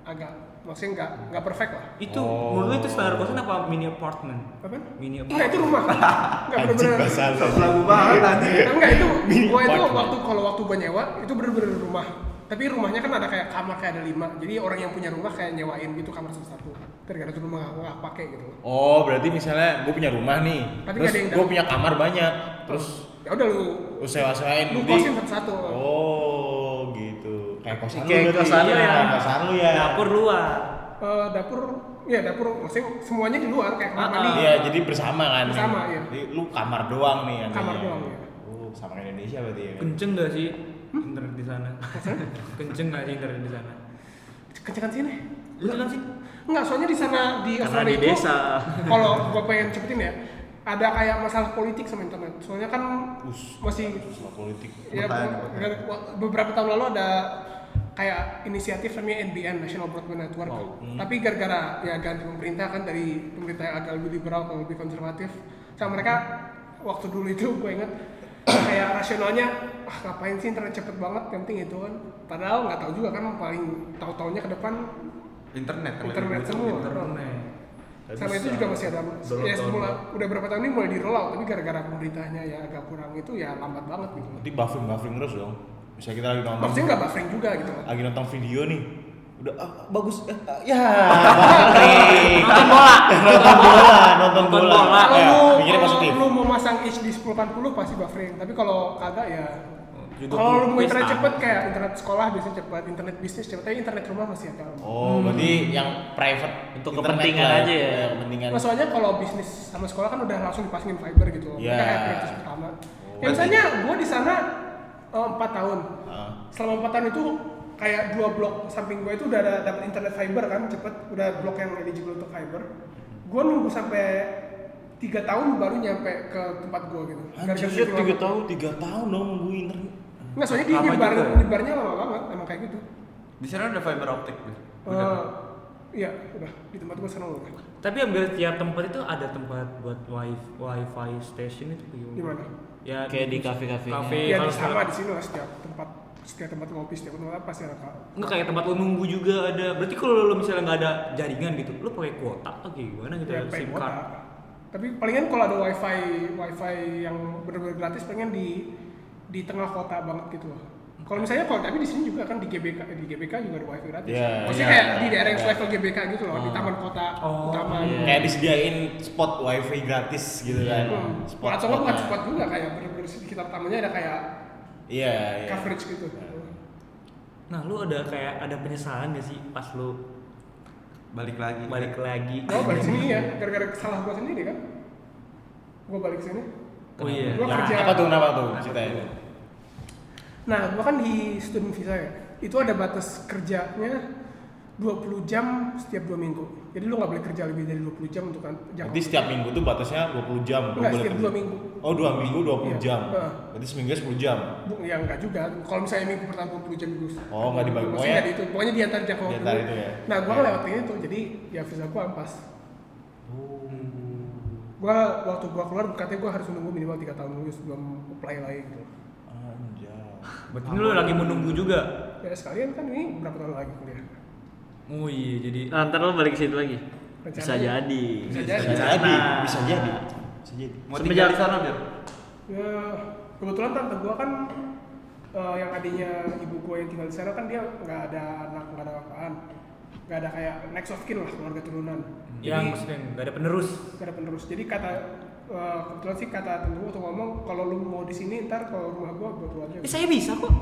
agak maksudnya nggak nggak perfect lah
itu
Oh.
menurut lo itu standar kosan apa mini apartment
apa
mini
Enggak itu
apartment
rumah nggak
Anjing
bener-bener
basah.
Lagu banget tadi.
enggak itu gua itu
Apartment.
waktu kalau waktu gua nyewa itu bener-bener rumah tapi rumahnya kan ada kayak kamar kayak ada lima jadi orang yang punya rumah kayak nyewain gitu kamar satu satu gara-gara tuh rumah nggak- nggak pakai gitu
Oh, berarti misalnya gue punya rumah nih,
Tapi
terus
nggak ada yang
gue
dapat.
punya kamar banyak, terus
ya udah lu
gue sewa-sewain
lu
jadi-
kosin satu satu
Oh, gitu. Kayak kosan lu
Kayak
berarti.
kosan lu
Iya,
ya.
kayak kosan lu ya.
dapur luar
dapur ya dapur maksudnya semuanya di luar kayak kamar
Ah,
mandi
Iya, jadi bersama kan.
Bersama, iya.
Jadi lu kamar doang nih anehnya.
Kamar doang, iya.
Oh, sama kayak Indonesia berarti ya.
kenceng gak sih internet di sana kenceng gak sih internet di sana
kencengan sini
lu kan sih
Enggak, soalnya di sana di
Karena
Australia
di
itu
desa.
kalau gua pengen cepetin ya, ada kayak masalah politik sama internet. Soalnya kan masih
Soal politik.
ya,
pertanyaan,
be-
pertanyaan.
be- beberapa tahun lalu ada kayak inisiatif namanya NBN National Broadband Network. Tapi gara-gara ya ganti pemerintah kan dari pemerintah yang agak lebih liberal ke lebih konservatif, sama mereka waktu dulu itu gue inget kayak rasionalnya ah ngapain sih internet cepet banget yang penting itu kan padahal nggak tahu juga kan paling tahu taunya ke depan
internet kan lebih
Internet semua.
internet.
sama itu juga masih ada ya semula udah berapa tahun ini mulai di roll out tapi gara-gara pemerintahnya ya agak kurang itu ya lambat banget gitu
Nanti buffering buffering terus dong. Misalnya kita lagi nonton,
maksudnya nggak buffering juga gitu kan
lagi nonton video nih. Udah ah, bagus. Eh, ah, ya, buffering.
Nonton bola.
nonton bola, nonton
Nonton
bola.
bola.
Ya,
kalau lu,
mikirnya positif.
kalau lu mau masang HD 1080 pasti buffering tapi kalau kagak ya
Gitu.
Juga
kalau lu
pesta.
mau
ah.
internet cepet kayak internet sekolah biasanya cepet internet bisnis cepet tapi internet rumah masih agak lama
Oh, berarti yang private
Untuk
internet
kepentingan
lah.
aja ya.
Iya, kepentingan.
Nah, soalnya kalau bisnis sama sekolah kan udah langsung dipasangin fiber gitu.
Iya.
Mereka kayak prioritas pertama. Ya misalnya gue di sana eh, empat tahun.
Ah.
Selama empat tahun itu kayak dua blok samping gue itu udah ada dapat internet fiber kan cepet udah blok yang eligible untuk fiber. Gue nunggu sampai tiga tahun baru nyampe ke tempat gue gitu.
Anjir,
video lama.
tiga tahun, tiga tahun dong nunggu internet.
Nggak soalnya dia
Lama
nyebar,
juga ya?
nyebarnya lama banget emang kayak gitu.
Di sana ada fiber optik. Bil.
Eh, Iya, udah di tempat gue sekarang udah.
tapi hampir tiap tempat itu ada tempat buat wifi wifi station itu gimana?
Di mana?
ya
Kayak di kafe-kafenya.
kafe
Iya di
kalau
sama di sini lah setiap tempat setiap tempat ngopi setiap tempat pasti ada kak.
Enggak kayak tempat lo nunggu juga ada. Berarti kalau lo misalnya nggak ada jaringan gitu, lo pakai kuota atau kayak gimana gitu
Ya,
ya, SIM
pakai
card.
kuota. Tapi palingan kalau ada wifi wifi yang benar-benar gratis pengen di di tengah kota banget gitu loh. Kalau misalnya kalau tapi di sini juga kan di GBK di GBK juga ada wifi gratis.
Iya,
Maksudnya
iya,
kayak
iya,
di daerah yang
iya.
level GBK gitu loh, di taman kota
Oh,
utama.
iya.
gitu.
Kayak disediain spot wifi gratis gitu kan.
Hmm.
Spot nah.
Atau nggak bukan
spotnya.
spot juga kayak benar-benar di sekitar tamannya ada kayak
Iya, iya.
coverage gitu.
Nah, lo ada kayak ada penyesalan gak sih pas lo
Balik lagi.
balik lagi?
Gue balik sini ya gara-gara salah gue sendiri kan. Gue balik sini.
Oh iya.
Gua
Nah,
kerja.
Apa tuh kenapa tuh ceritanya?
Nah, gua kan di student visa ya. Itu ada batas kerjanya 20 jam setiap 2 minggu. Jadi lu nggak boleh kerja lebih dari 20 jam untuk kan jam.
Berarti setiap minggu tuh batasnya 20 jam. lu
Enggak,
boleh
setiap
kerja.
dua minggu.
Oh, 2 minggu 20
Iya.
jam.
Heeh.
Berarti seminggu 10 jam.
Bu, ya enggak juga. Kalau misalnya minggu pertama 20 jam dulu.
Oh, nggak dibagi.
Maksudnya nggak di itu. Pokoknya di antara jam
Di
waktu.
antara itu ya.
Nah, gua
Iya.
ngelewatin itu. Jadi ya visa gua ampas.
Oh.
Gua waktu gua keluar katanya gua harus menunggu minimal 3 tahun dulu sebelum apply lagi gitu.
Anjay.
Berarti lo lagi menunggu juga.
Ya sekalian kan ini berapa tahun lagi kuliah.
Oh iya, jadi
Nah, ntar lo balik ke situ lagi. ya? Bisa
Rencananya.
jadi.
Bisa
Bisa
jadi.
jadi, bisa jadi. Bisa jadi.
Mau
Semenjak-
tinggal di sana biar.
Ya, kebetulan tante gua kan eh, yang adiknya ibu gua yang tinggal di sana kan dia nggak ada anak nggak ada apaan nggak ada kayak next of kin lah keluarga turunan
yang
jadi
maksudnya nggak ada penerus.
nggak ada penerus jadi kata eh, kebetulan sih kata tante gua tuh ngomong kalau lu mau di sini ntar kalau rumah gua buat lu aja
Eh, saya bisa kok.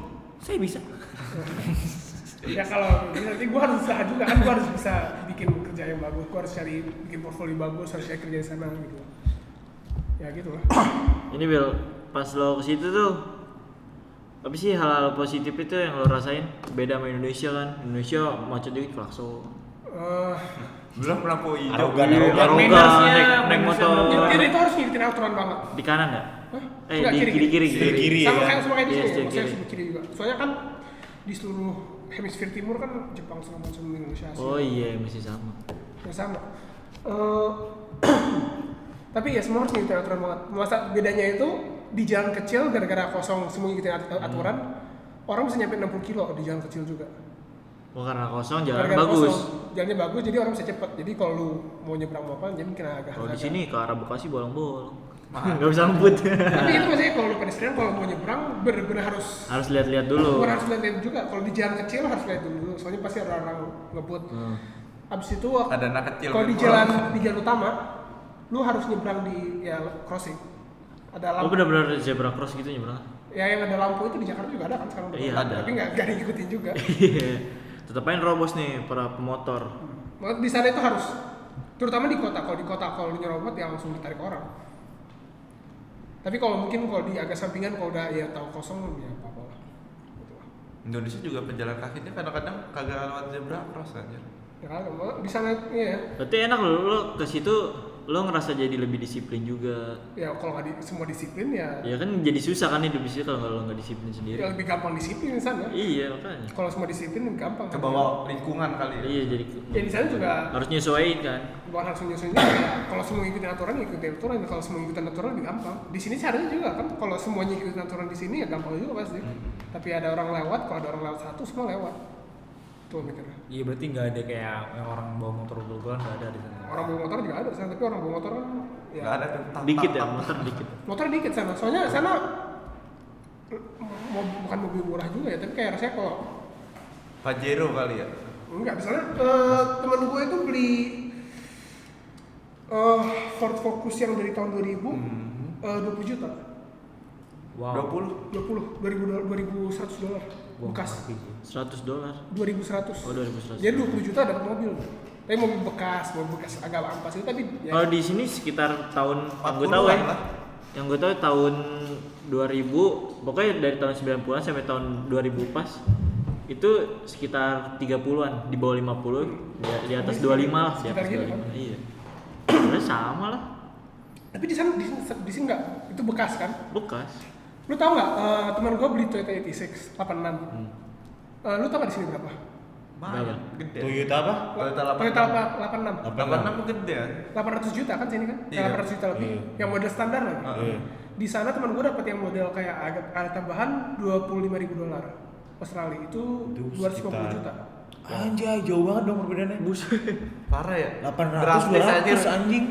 Saya bisa.
ya kalau bisa, nanti gua harus usaha juga kan gua harus bisa bikin kerja yang bagus gua harus cari bikin portfolio bagus harus cari kerja di sana gitu ya gitu lah
Ini Bill, pas lo ke situ tuh apa sih hal-hal positif itu yang lo rasain? Beda sama Indonesia kan. Indonesia macet dikit klakson.
Eh,
Belum lampu hijau.
Arogan, arogan.
Arogan,
mannersnya,
Iya, naik, naik
mannersnya
motor.
belum
jadi itu harus ngikutin aturan banget
Di kanan nggak?
Hah?
Iya. Eh,
Nggak,
di kiri kiri
Kiri, kiri. ya
sama
kan?
kayak sama kayak di
Iya,
sini
setiap
maksudnya
kiri.
sebut kiri juga soalnya kan di seluruh hemisfer timur kan Jepang sama macam Indonesia Asia.
Oh iya masih sama.
Ya, sama Eh, tapi ya semua harus ngikutin aturan banget masa bedanya itu di jalan kecil gara-gara kosong semua ngikutin at-
Hmm.
aturan orang bisa nyampe 60 kilo di jalan kecil juga
Oh karena kosong jalan
Gara-gara
bagus.
kosong, jalannya bagus jadi orang bisa cepet jadi kalau lu mau nyebrang mau apa jadi kena agak
Kalau di sini ke arah Bekasi bolong-bolong.
Mahal.
nggak bisa ngebut
tapi itu maksudnya kalau lu pedestrian kalau mau nyebrang bener-bener harus
harus lihat-lihat dulu
bener harus lihat juga kalau di jalan kecil harus lihat dulu soalnya pasti ada orang ngebut
Hmm.
abis itu wak-
Ada anak kecil
kalau di
main
jalan
bola.
di jalan utama lu harus nyebrang di ya crossing ada
lo
lampu
Oh, benar-benar zebra cross gitu nyebrang
ya yang ada lampu itu di Jakarta juga ada kan sekarang
Iya, ada.
tapi nggak nggak diikutin juga
Iya. tetap aja nerobos nih para pemotor
Makanya di sana itu harus terutama di kota kalau di kota kalau lu nyerobot ya langsung ditarik orang tapi kalau mungkin kalau di agak sampingan kalau udah ya tahu kosong ya apa apa lah Gitu lah.
Indonesia juga pejalan kakinya kadang-kadang kagak lewat zebra cross aja.
ya kan mau- di sana iya
berarti enak lo lo ke situ lo ngerasa jadi lebih disiplin juga
ya kalau nggak di, semua disiplin ya,
ya kan jadi susah kan hidup di situ kalau lo nggak disiplin
ya
sendiri
lebih gampang disiplin di sana
iya makanya
kalau semua disiplin gampang
Ke bawah lingkungan kali ya.
iya jadi
ya di sana juga
harus nyesuaiin kan
bukan harus menyusun ya kalau semua ikutin aturan ya ikutin aturan kalau semua ikutin aturan lebih gampang di sini caranya juga kan kalau semuanya ikutin aturan di sini ya gampang juga pasti
Hmm.
tapi ada orang lewat kalau ada orang lewat satu semua lewat tuh mikirnya
Iya berarti nggak ada kayak yang orang bawa motor berdua nggak ada di sana.
orang bawa motor juga ada sana tapi orang bawa motor kan ya
Nggak ada tuh. tap,
dikit
tap,
ya
tap.
motor dikit
motor dikit sana soalnya sana mo- bukan mobil murah juga ya tapi kayak rasanya kalau
Pajero kali ya.
enggak misalnya eh, teman gue itu beli eh, Ford Focus yang dari tahun 2000 eh, 20 juta
Wow.
20
20 2000 2100 dolar
Gua
bekas
ngerti sih.
100 dolar oh 2100
2100 jadi 20 juta dapat mobil tapi mobil bekas mobil bekas agak ampas itu tapi
Kalau
ya,
di sini sekitar tahun yang gue
40-an
tahu ya.
lah.
Yang gue tahu tahun 2000, pokoknya dari tahun 90-an sampai tahun 2000 pas itu sekitar 30-an, di bawah 50, di, di atas 25 lah, di atas
Sekitar gitu kan?
25. Iya. Sebenarnya sama lah,
tapi di sana di, di sini enggak itu bekas kan
bekas.
lu tau nggak eh, teman gue beli Toyota 86 86 Eh, lu tau nggak di sini berapa
Banyak gede.
Toyota apa?
Toyota
Toyota
86.
86
86 gede ya.
800 juta kan sini kan
Iya.
800 juta lebih
Iya.
yang model standar lagi
Heeh.
di sana teman gue dapat yang model kayak agak ada tambahan 25.000 dolar Australia itu
Itu
250
sekitar-
juta
Anjay, jauh banget dong perbedaannya. Buset.
Parah ya.
800
Drastis aja.
200 anjing.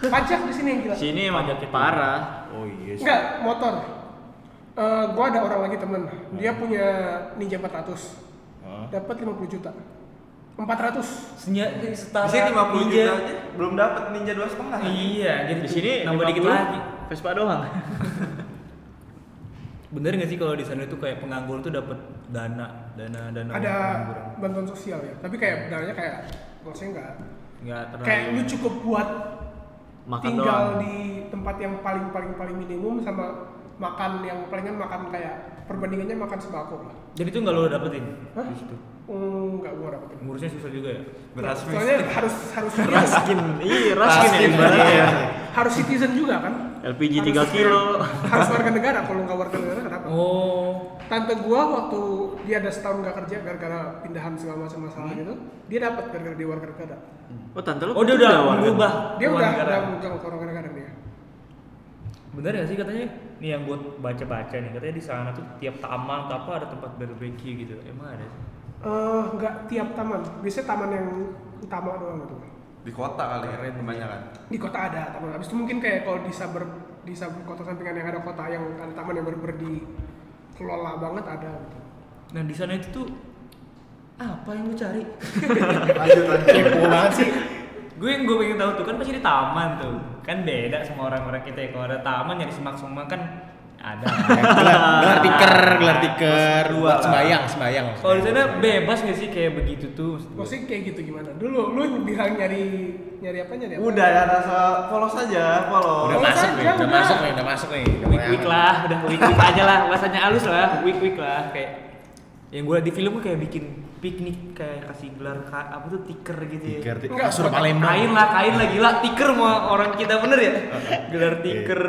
pajak di sini yang
Di
gila
sini emang parah.
Oh iya. sih.
enggak motor Eh, gue ada orang lagi temen
Nah.
dia punya Ninja 400
Hah?
dapat 50 juta 400
Senya setara.
Bisa 50
ninja.
juta aja belum dapat ninja 2,5 setengah.
Iya, jadi
Di sini
nambah dikit
50,
lagi.
Vespa doang.
Bener nggak sih kalau di sana itu kayak pengangguran tuh dapat dana, dana,
Nah,
dana
ada
pengangguran.
bantuan sosial ya tapi kayak dananya kayak maksudnya enggak
Nggak terlalu.
kayak lu cukup buat
Nah, iya, Makan
tinggal
doang.
di tempat yang paling paling paling minimum sama makan yang palingan makan kayak perbandingannya makan sembako lah
Jadi itu nggak lo dapetin.
Hah? enggak gua dapetin
Ngurusnya susah juga ya.
Beras
soalnya harus harus ini lah.
Raskin, iya raskin,
Raskin,
ya ibaratnya
iya.
ya.
harus citizen juga kan
LPG
Harus
3 Iya, kilo.
harus warga negara kalau nggak warga negara kenapa
Oh.
tante gua waktu dia ada setahun nggak kerja gara-gara pindahan segala macam masalah
Hmm.
gitu dia dapat gara-gara dia warga negara
Oh tante lu
Oh dia
juga
udah
warga.
berubah.
dia
keluar
udah
negara.
udah megang ke warga negara dia
Bener gak sih katanya? Nih yang gue baca-baca nih, katanya di sana tuh tiap taman atau apa ada tempat barbeque gitu. Emang ada sih?
Eh, nggak tiap taman biasanya taman yang utama doang gitu
Di kota kali ya kebanyakan.
di kota ada taman habis itu mungkin kayak kalau di saber di saber kota sampingan yang ada kota yang ada taman yang bener-bener dikelola banget ada gitu
Iya.
Nah di sana itu tuh apa yang lu cari?
Lanjut lanjut.
Kepo banget sih.
gue yang gue pengen tahu tuh kan pasti di taman tuh kan beda sama orang-orang kita ya kalau ada taman nyari semak-semak kan ada
Gelar, gelar tiker, gelar tiker. Buat sembayang, sembayang.
kalau di sana bebas gak sih kayak begitu tuh maksud gue?
maksudnya kayak gitu gimana dulu lu bilang nyari nyari apa nyari apa
Udah ya rasa polos aja, polos.
Udah
Oh,
masuk
saya
nih,
juga.
udah masuk nih, udah masuk nih. Udah
week week
aman.
lah udah week week aja lah bahasanya halus lah week week lah kayak yang gue liat di film gue kayak bikin piknik kayak kasih gelar ka- apa tuh tiker gitu ya
Tiker, tiker.
Enggak,
Kasur
buat
Palembang.
kain lah kain lah gila tiker mau orang kita bener ya gelar
Iya.
tiker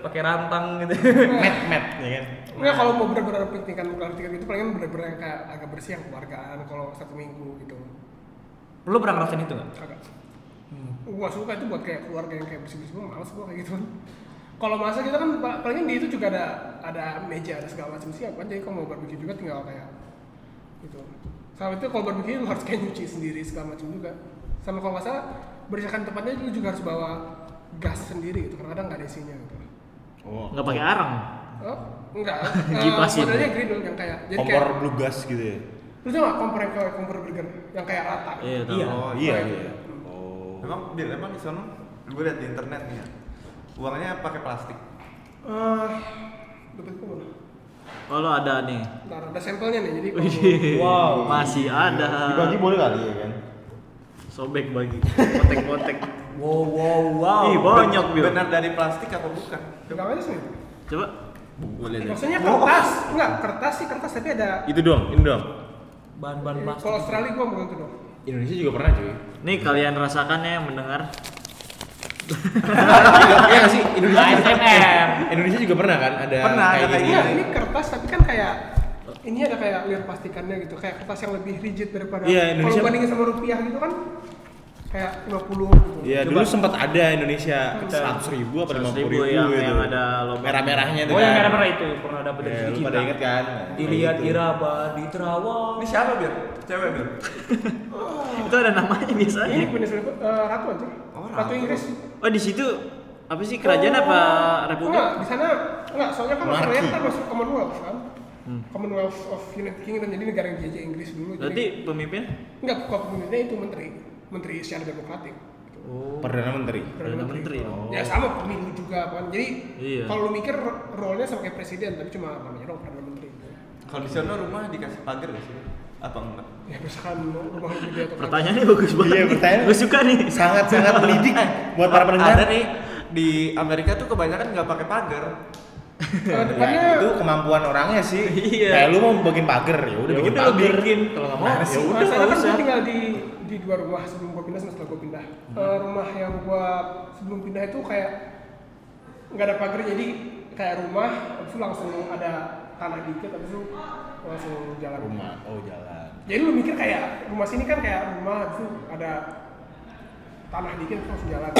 pakai rantang gitu
Mat, mat, ya kan.
Enggak, kalau mau bener-bener piknikan bukan piknik itu gitu, palingan bener-bener yang kayak agak bersih yang keluargaan kalau satu minggu gitu
lo pernah ngerasain itu nggak
agak gua suka itu buat kayak keluarga yang kayak bersih-bersih gua males gua kayak gitu kan kalau masa kita kan pa- palingan di itu juga ada ada meja ada segala macam siap kan jadi kalau mau barbeque juga tinggal kayak gitu sama itu kalau barbeque lu harus kayak nyuci sendiri segala macam juga sama kalau nggak salah berdasarkan tempatnya lu juga harus bawa gas sendiri gitu kadang-kadang nggak ada isinya gitu
Oh,
nggak pakai arang
oh enggak
Kipas ya?
modelnya green dong yang kayak jadi
kompor
kayak
blue gas gitu ya?
lu tau nggak kompor yang kayak kompor burger yang kayak rata
iya tahu
Iya.
Oh iya
Oh,
iya.
iya.
Oh.
Emang Bil, emang di sana gue liat di internet nih ya. Uangnya pakai plastik.
eh dompet gua mana?
kalau ada nih
Ntar ada sampelnya nih jadi kalau-
Oh, Wow.
masih ada
Dibagi boleh kali ya kan?
sobek bagi kontek-kontek
Wow wow wow.
ih banyak bil
Benar dari plastik apa bukan?
Gawainya sih.
coba
Boleh
Maksudnya kertas, enggak kertas sih kertas tapi ada
Itu doang, ini doang.
Bahan-bahan plastik.
Iya.
kalau Australia gua bukan itu dong.
Indonesia juga pernah cuy.
nih kalian rasakan ya yang mendengar
Iya nggak sih Indonesia.
ASMR.
Indonesia juga pernah kan ada
Pernah,
kayak
ada
gini.
Iya, ini kertas tapi kan kayak ini ada kayak lihat plastikannya gitu, kayak kertas yang lebih rigid daripada
Iya,
kalau
Indonesia-
bandingin sama rupiah gitu kan kayak 50 gitu.
Iya dulu sempat ada Indonesia seratus ribu apa lima
100.000
puluh ribu
yang-
itu.
yang ada lubang.
merah-merahnya tuh.
Oh yang
kan.
merah-merah itu pernah dapat dari
Ya,
sisi
lu
Cina.
pada inget kan? Nah,
ya,
Dilihat
kayak gitu.
Iraba di Terawang.
Ini siapa Bil? Cewek Bil?
itu ada namanya
Ini
biasanya
Venezuela eh, ratu aja.
Oh,
ratu.
ratu.
Inggris.
oh di situ apa sih kerajaan apa republik
Enggak, di sana enggak, soalnya kan
Monarki.
Australia kan masuk Commonwealth kan.
Hmm.
Commonwealth of United Kingdom jadi negara yang dijajah Inggris dulu.
berarti pemimpin
jadi enggak kok pemimpinnya itu menteri, menteri secara demokratik.
Perdana Menteri.
perdana menteri oh.
Ya sama pemilu juga kan. Jadi
Iya.
kalau lu mikir ro- role-nya sama kayak presiden tapi cuma namanya doang perdana menteri.
Kalau di sana rumah dikasih pagar gak sih? Apa enggak?
Ya misalkan rumah lu gede atau
pertanyaannya bagus banget
Iya,
nih.
pertanyaan-
gue suka nih
Sangat-sangat mendidik
Eh,
buat para pendengar.
Ada nih di Amerika tuh kebanyakan nggak pakai pagar.
Eh, depannya
Ya, itu kemampuan orangnya sih.
Iya.
Kayak lu mau bikin pagar ya udah
Ya
bikin
udah, lu
pagar.
bikin. Kalau nggak mau,
Gimana
ya
sih?
udah.
Masalah
nggak
kan gue
usah. Hmm.
tinggal di di dua rumah sebelum gue pindah sama setelah gue pindah. Eh, rumah yang gue sebelum pindah itu kayak nggak ada pagar jadi kayak rumah habis itu langsung ada tanah dikit habis itu langsung jalan.
Rumah, oh jalan.
Jadi lu mikir kayak rumah sini kan kayak rumah habis itu ada tanah dikit terus langsung jalan.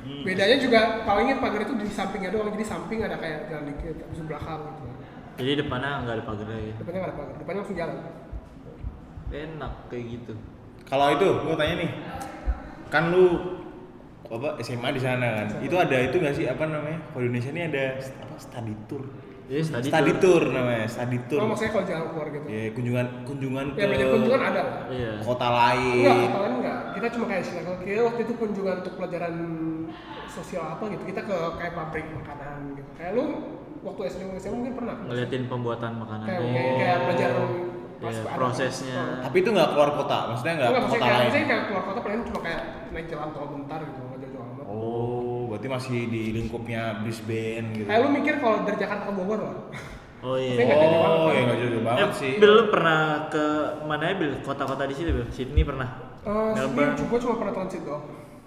Hmm.
Bedanya juga palingnya pagar itu di sampingnya doang jadi samping ada kayak jalan dikit habis itu belakang gitu.
jadi depannya nggak ada pagar ya
Depannya nggak ada pagar, depannya langsung jalan.
enak kayak gitu
Kalau itu gua tanya nih. Kan lu apa SMA di sana
Iya.
kan. Itu ada itu nggak sih apa namanya? Kalau di Indonesia ini ada st- apa study tour.
jadi tadi
study tour namanya, study tour.
Iya, Oh, maksudnya kalau jalan keluar gitu.
Ya, kunjungan kunjungan
Ya
ke
banyak kunjungan ada.
iya
kota
Enggak,
lain.
ketahuan enggak. Kita cuma kayak silakan kayak waktu itu kunjungan untuk pelajaran sosial apa gitu. Kita ke kayak pabrik makanan gitu. Kayak lu waktu SD sama SMA mungkin pernah.
ngeliatin pembuatan Oh. makanannya
Kayak kayak, kayak pelajaran
Iya,
pas ada-
prosesnya.
Oh.
Tapi itu nggak keluar kota, maksudnya nggak ke
Enggak, Oh, maksudnya
kota
kayak,
lain.
maksudnya kayak keluar kota paling cuma kayak naik jalan tol bentar gitu, enggak jauh-jauh amat.
Oh, berarti masih di lingkupnya Brisbane gitu.
Kayak lu mikir kalau dari Jakarta ke Bogor lah.
oh iya
Maksudnya nggak jauh banget.
Oh, ya nggak jauh banget sih.
Eh, Bil, lu pernah ke mana ya, Bil? Kota-kota di situ, Bil? Sydney pernah?
Eh, sini
Melbourne.
gua cuma pernah transit doang.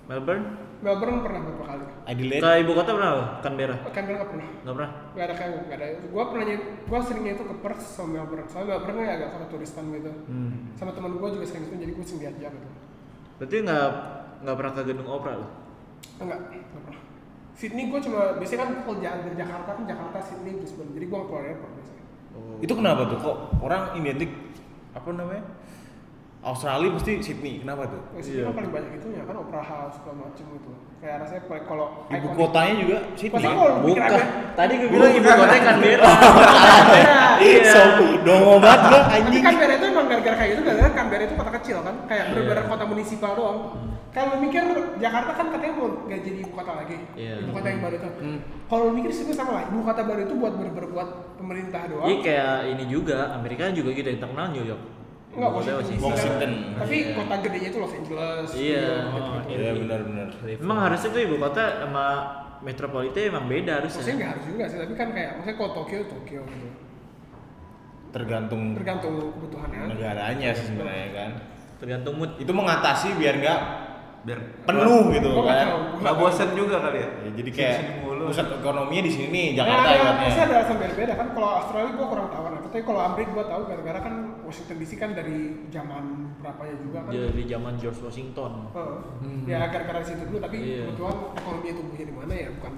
Melbourne?
Melbourne pernah beberapa kali.
Adelaide.
Ke ibu kota pernah lo? Canberra?
Canberra nggak pernah.
Nggak pernah?
Gak ada kayak gak ada. Gua pernah nyi- gua seringnya itu ke Perth sama Melbourne. Soalnya Melbourne kan agak kota turistan gitu. Sama teman gua juga sering itu jadi gua sering diajak gitu.
Berarti nggak nggak pernah ke gedung opera lo?
Enggak, enggak Ah, pernah. Sydney gua cuma biasanya kan kalau jalan dari Jakarta kan Jakarta Sydney Brisbane. Jadi gua keluar airport biasanya.
Itu kenapa tuh kok orang identik apa namanya? Australia pasti Sydney. Kenapa tuh?
Nah, Sydney kan paling banyak itu ya kan opera house segala macem gitu. Kayak rasanya paling- kalau
Ibu
ikonik-
kotanya juga Sydney.
Masa kalau lu pikir
Bukan.
agak-
Tadi gue bilang ibu kan kota Canberra.
Iya. So, dongo banget lo
Tapi kan
anjing.
Canberra itu emang gara-gara kayak gitu, gara-gara Canberra itu kota kecil kan, kayak bener-bener kota munisipal doang. Kalau lu mikir Jakarta kan katanya mau gak jadi ibu kota lagi,
Iya.
ibu kota yang baru itu. Kalau lu mikir sini sama lah, ibu kota baru itu buat bener-bener buat pemerintah doang.
Iya kayak ini juga, Amerika juga gitu yang terkenal New York.
Enggak
Ibu kota
Washington.
Washington.
Tapi kota gedenya itu Los Angeles. gitu.
Iya.
New York, gitu-gitu.
Iya benar-benar.
Emang harusnya tuh ibu kota sama metropolitan emang beda
Maksudnya
harusnya.
nggak harus juga sih, tapi kan kayak maksudnya kalau Tokyo Tokyo gitu.
Tergantung
Tergantung
Iya.
kebutuhannya. Nah,
negaranya sih sebenarnya kan.
Tergantung mood.
Itu mengatasi biar nggak
Biar
penuh gitu
Gua nggak tahu,
kan.
gua
nggak bosen juga kali ya.
Ya, jadi kayak
Sini-sini mulu.
pusat ekonominya di sini nih, Jakarta
Nah, ada, pasti
ibaratnya.
ada alasan beda-beda kan. Kalau Australia gua kurang tahu nah. Tapi kalau Amerika gua tahu gara-gara kan Washington DC kan dari zaman berapanya juga kan.
Dari zaman George Washington.
Heeh. Ya gara-gara di situ dulu tapi
Hmm. Iya.
kebetulan ekonomi tumbuhnya di mana ya bukan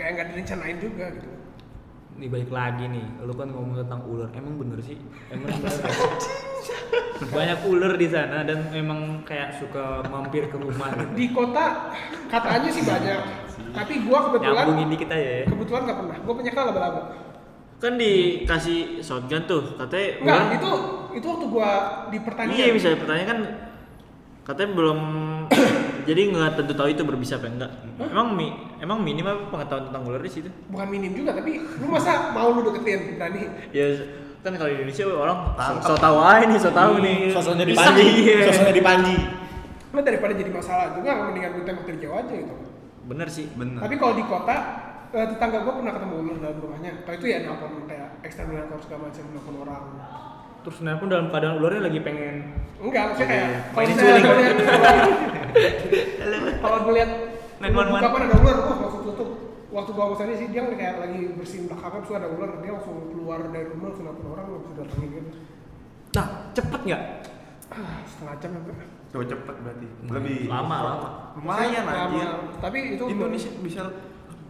kayak nggak direncanain juga gitu.
Nih balik lagi nih, lu kan ngomong tentang ular, emang bener sih? Emang bener. Banyak ular di sana dan memang kayak suka mampir ke rumah.
Di kota katanya sih banyak tapi gua kebetulan
Nyambungin dikit aja ya.
kebetulan nggak pernah gua penyekal laba-laba
kan dikasih shotgun tuh katanya
enggak
gua-
itu itu waktu gua di pertandingan
Iya bisa pertanyaan kan katanya belum jadi nggak tentu tahu itu berbisa apa enggak. Emang mi, emang minim apa pengetahuan tentang ular di situ?
bukan minim juga tapi lu masa mau lu deketin berani
Ya kan kalau di Indonesia orang Hmm, so, so tahu aja nih, so tahu nih.
Sosoknya di
Bisa,
Panji.
iya.
Sosoknya di Panji.
lu daripada jadi masalah juga mendingan lu tembak dari jauh aja gitu
Bener sih.
Nah.
Bener.
tapi kalau di kota eh, tetangga gua pernah ketemu ular dalam rumahnya kalau itu ya nelfon kayak eksterminator segala macam nelfon orang
Terus kenapa dalam keadaan ularnya lagi pengen Iya,
enggak maksudnya kayak kalau
Mainin
misalnya
suling.
kalau lihat- kalau ngeliat
Main one-one.
kapan ada ular oh langsung tutup waktu gua kesana sih dia kayak lagi bersihin belakangnya terus ada ular dia langsung keluar dari rumah langsung nelfon orang langsung datangin gitu
nah cepet nggak
Ah, setengah jam sampai
Coba cepet berarti. Lebih
Lama lama.
Lumayan
Lama.
anjir.
tapi itu
Indonesia bisa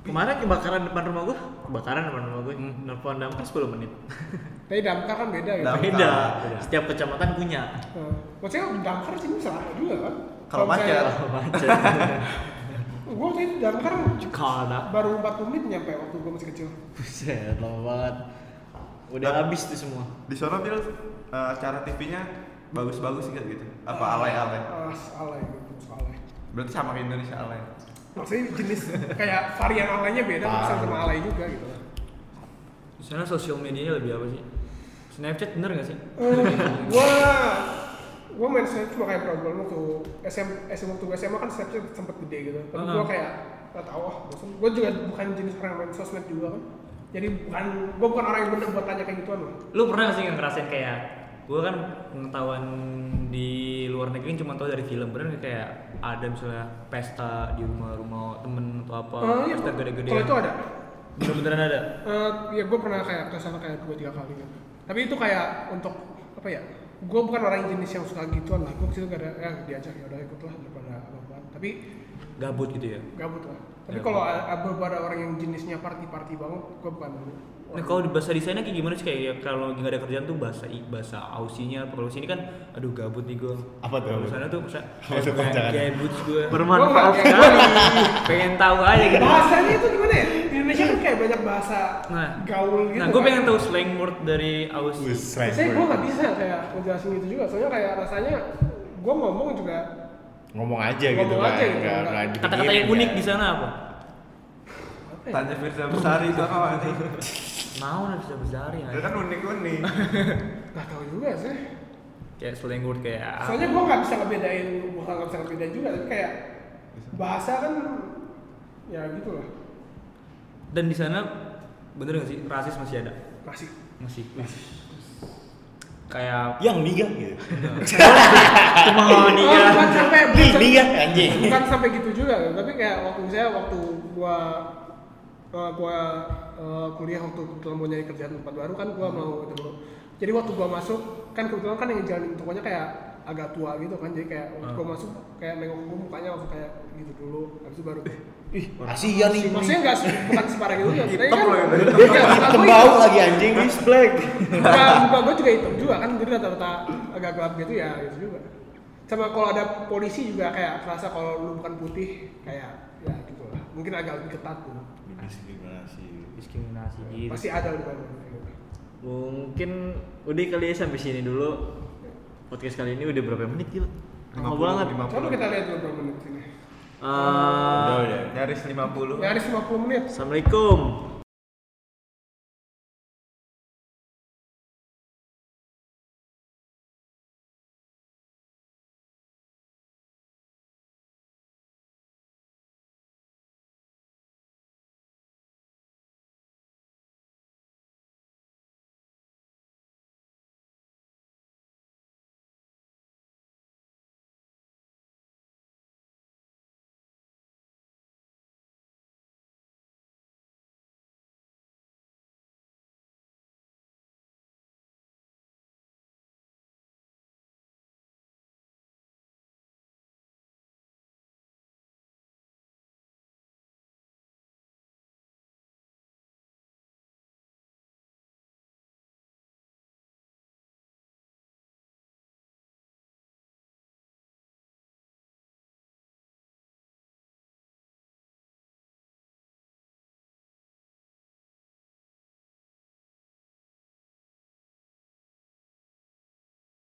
Kemarin kebakaran depan rumah gua, kebakaran depan rumah gua, nelfon damkar 10 menit.
tapi damkar kan beda gitu
Damkar.
Beda. Setiap kecamatan punya.
Nah, maksudnya damkar sih bisa ada juga kan
Kalau macet.
misalnya-
Macet.
gua waktu itu damkar
Kalau
baru 40 menit nyampe waktu gua masih kecil
Buset, lama banget.
Nah.
Udah
Tapi-
habis tuh semua.
Di sana Bil, eh, acara TV-nya bagus-bagus nggak gitu? Apa alay-alay?
ah alay gitu alay
Berarti sama kayak Indonesia alay.
maksudnya jenis kayak varian alaynya beda bisa sama alay juga gitu
di sana sosial medianya lebih apa sih Snapchat bener nggak sih
Eh, gua gua main Snapchat cuma kayak problem waktu SM, SM waktu SMA kan Snapchat sempet gede gitu tapi gua
Hmm.
kayak gak tau ah bosan gua juga bukan jenis orang yang main sosmed juga kan jadi bukan gua bukan orang yang bener buat tanya kayak gituan loh
lu pernah nggak sih ngerasain kayak gue kan pengetahuan di luar negeri cuma tahu dari film bener nggak kayak ada misalnya pesta di rumah-rumah temen atau apa
Eh, iya,
pesta gede-gede
kalau itu ada
Oh, bener-beneran ada
Eh, ya gue pernah kayak kesana kayak dua tiga kali kan tapi itu kayak untuk apa ya gue bukan orang yang jenis yang suka gituan lah gue kesitu gak ada ya diajak ya udah ikut lah daripada apa tapi
gabut gitu ya
gabut lah tapi
Ya.
kalau a- ada beberapa orang yang jenisnya party-party banget gue bukan
Nah kalau di bahasa di sana kayak gimana sih kayak ya, kalau nggak ada kerjaan tuh bahasa I- bahasa ausinya apa kalau sini kan aduh gabut nih gue
Apa tuh?
di sana tuh bisa
Apa tuh panjangannya?
gabut gue
Bermanfaat
Gua nggak-
sekali.
pengen tahu aja gitu
bahasanya itu gimana ya di Indonesia kan kayak banyak bahasa
Nah.
gaul gitu
nah gue
kan.
pengen tahu slang word dari aus
Wih, slang
Maksudnya gue
word.
gak bisa kayak ngejelasin gitu juga soalnya kayak rasanya gue ngomong juga
Ngomong aja gitu
Ngomong
kan.
aja gitu,
nggak-
nggak-
nggak dipikirin
kata-kata yang
ya.
unik di sana apa
apa ya?
Tanya Firza Besari itu apa sih?
mau nanti bisa besar ya
Dia kan unik-unik.
gak tau juga sih
kayak slang word kayak ah.
soalnya gue nggak bisa ngebedain bukan nggak bisa ngebedain juga tapi kayak bahasa kan ya gitu lah
dan di sana bener gak sih rasis masih ada
masih
masih kayak
Yang liga gitu.
Cuma mau
Iya.
Oh, bukan sampai bukan,
Ih, liga anjing.
bukan sampai gitu juga tapi kayak waktu saya waktu gua eh, gua eh, kuliah waktu kebetulan mau nyari kerjaan tempat baru kan gua mau itu dulu jadi waktu gua masuk kan kebetulan kan yang jalanin tokonya kayak agak tua gitu kan jadi kayak waktu
Ah.
gua masuk kayak nengok gua mukanya langsung kayak gitu dulu habis itu baru ih
Kasihan nih.
maksudnya nggak se- bukan separah gitu ya tapi
Eh, Hitam
kan
loh yang tadi.
Iya, muka
Hitam
gua
bau lagi anjing. Miss Black.
Eh,
muka, muka gue juga hitam juga kan jadi rata-rata agak gelap gitu ya itu juga sama kalau ada polisi juga kayak terasa kalau lu bukan putih kayak ya gitu lah mungkin agak lebih ketat tuh
Diskriminasi.
diskriminasi
Iya.
gitu
pasti ada di mana gitu.
Mungkin udah kali ya sampai sini dulu. Podcast kali ini udah berapa menit gila? Lama banget.
coba kita lihat dulu berapa menit sini
Eh,
Udah udah.
Nyaris 50.
Ya, nyaris 50 menit
Assalamualaikum.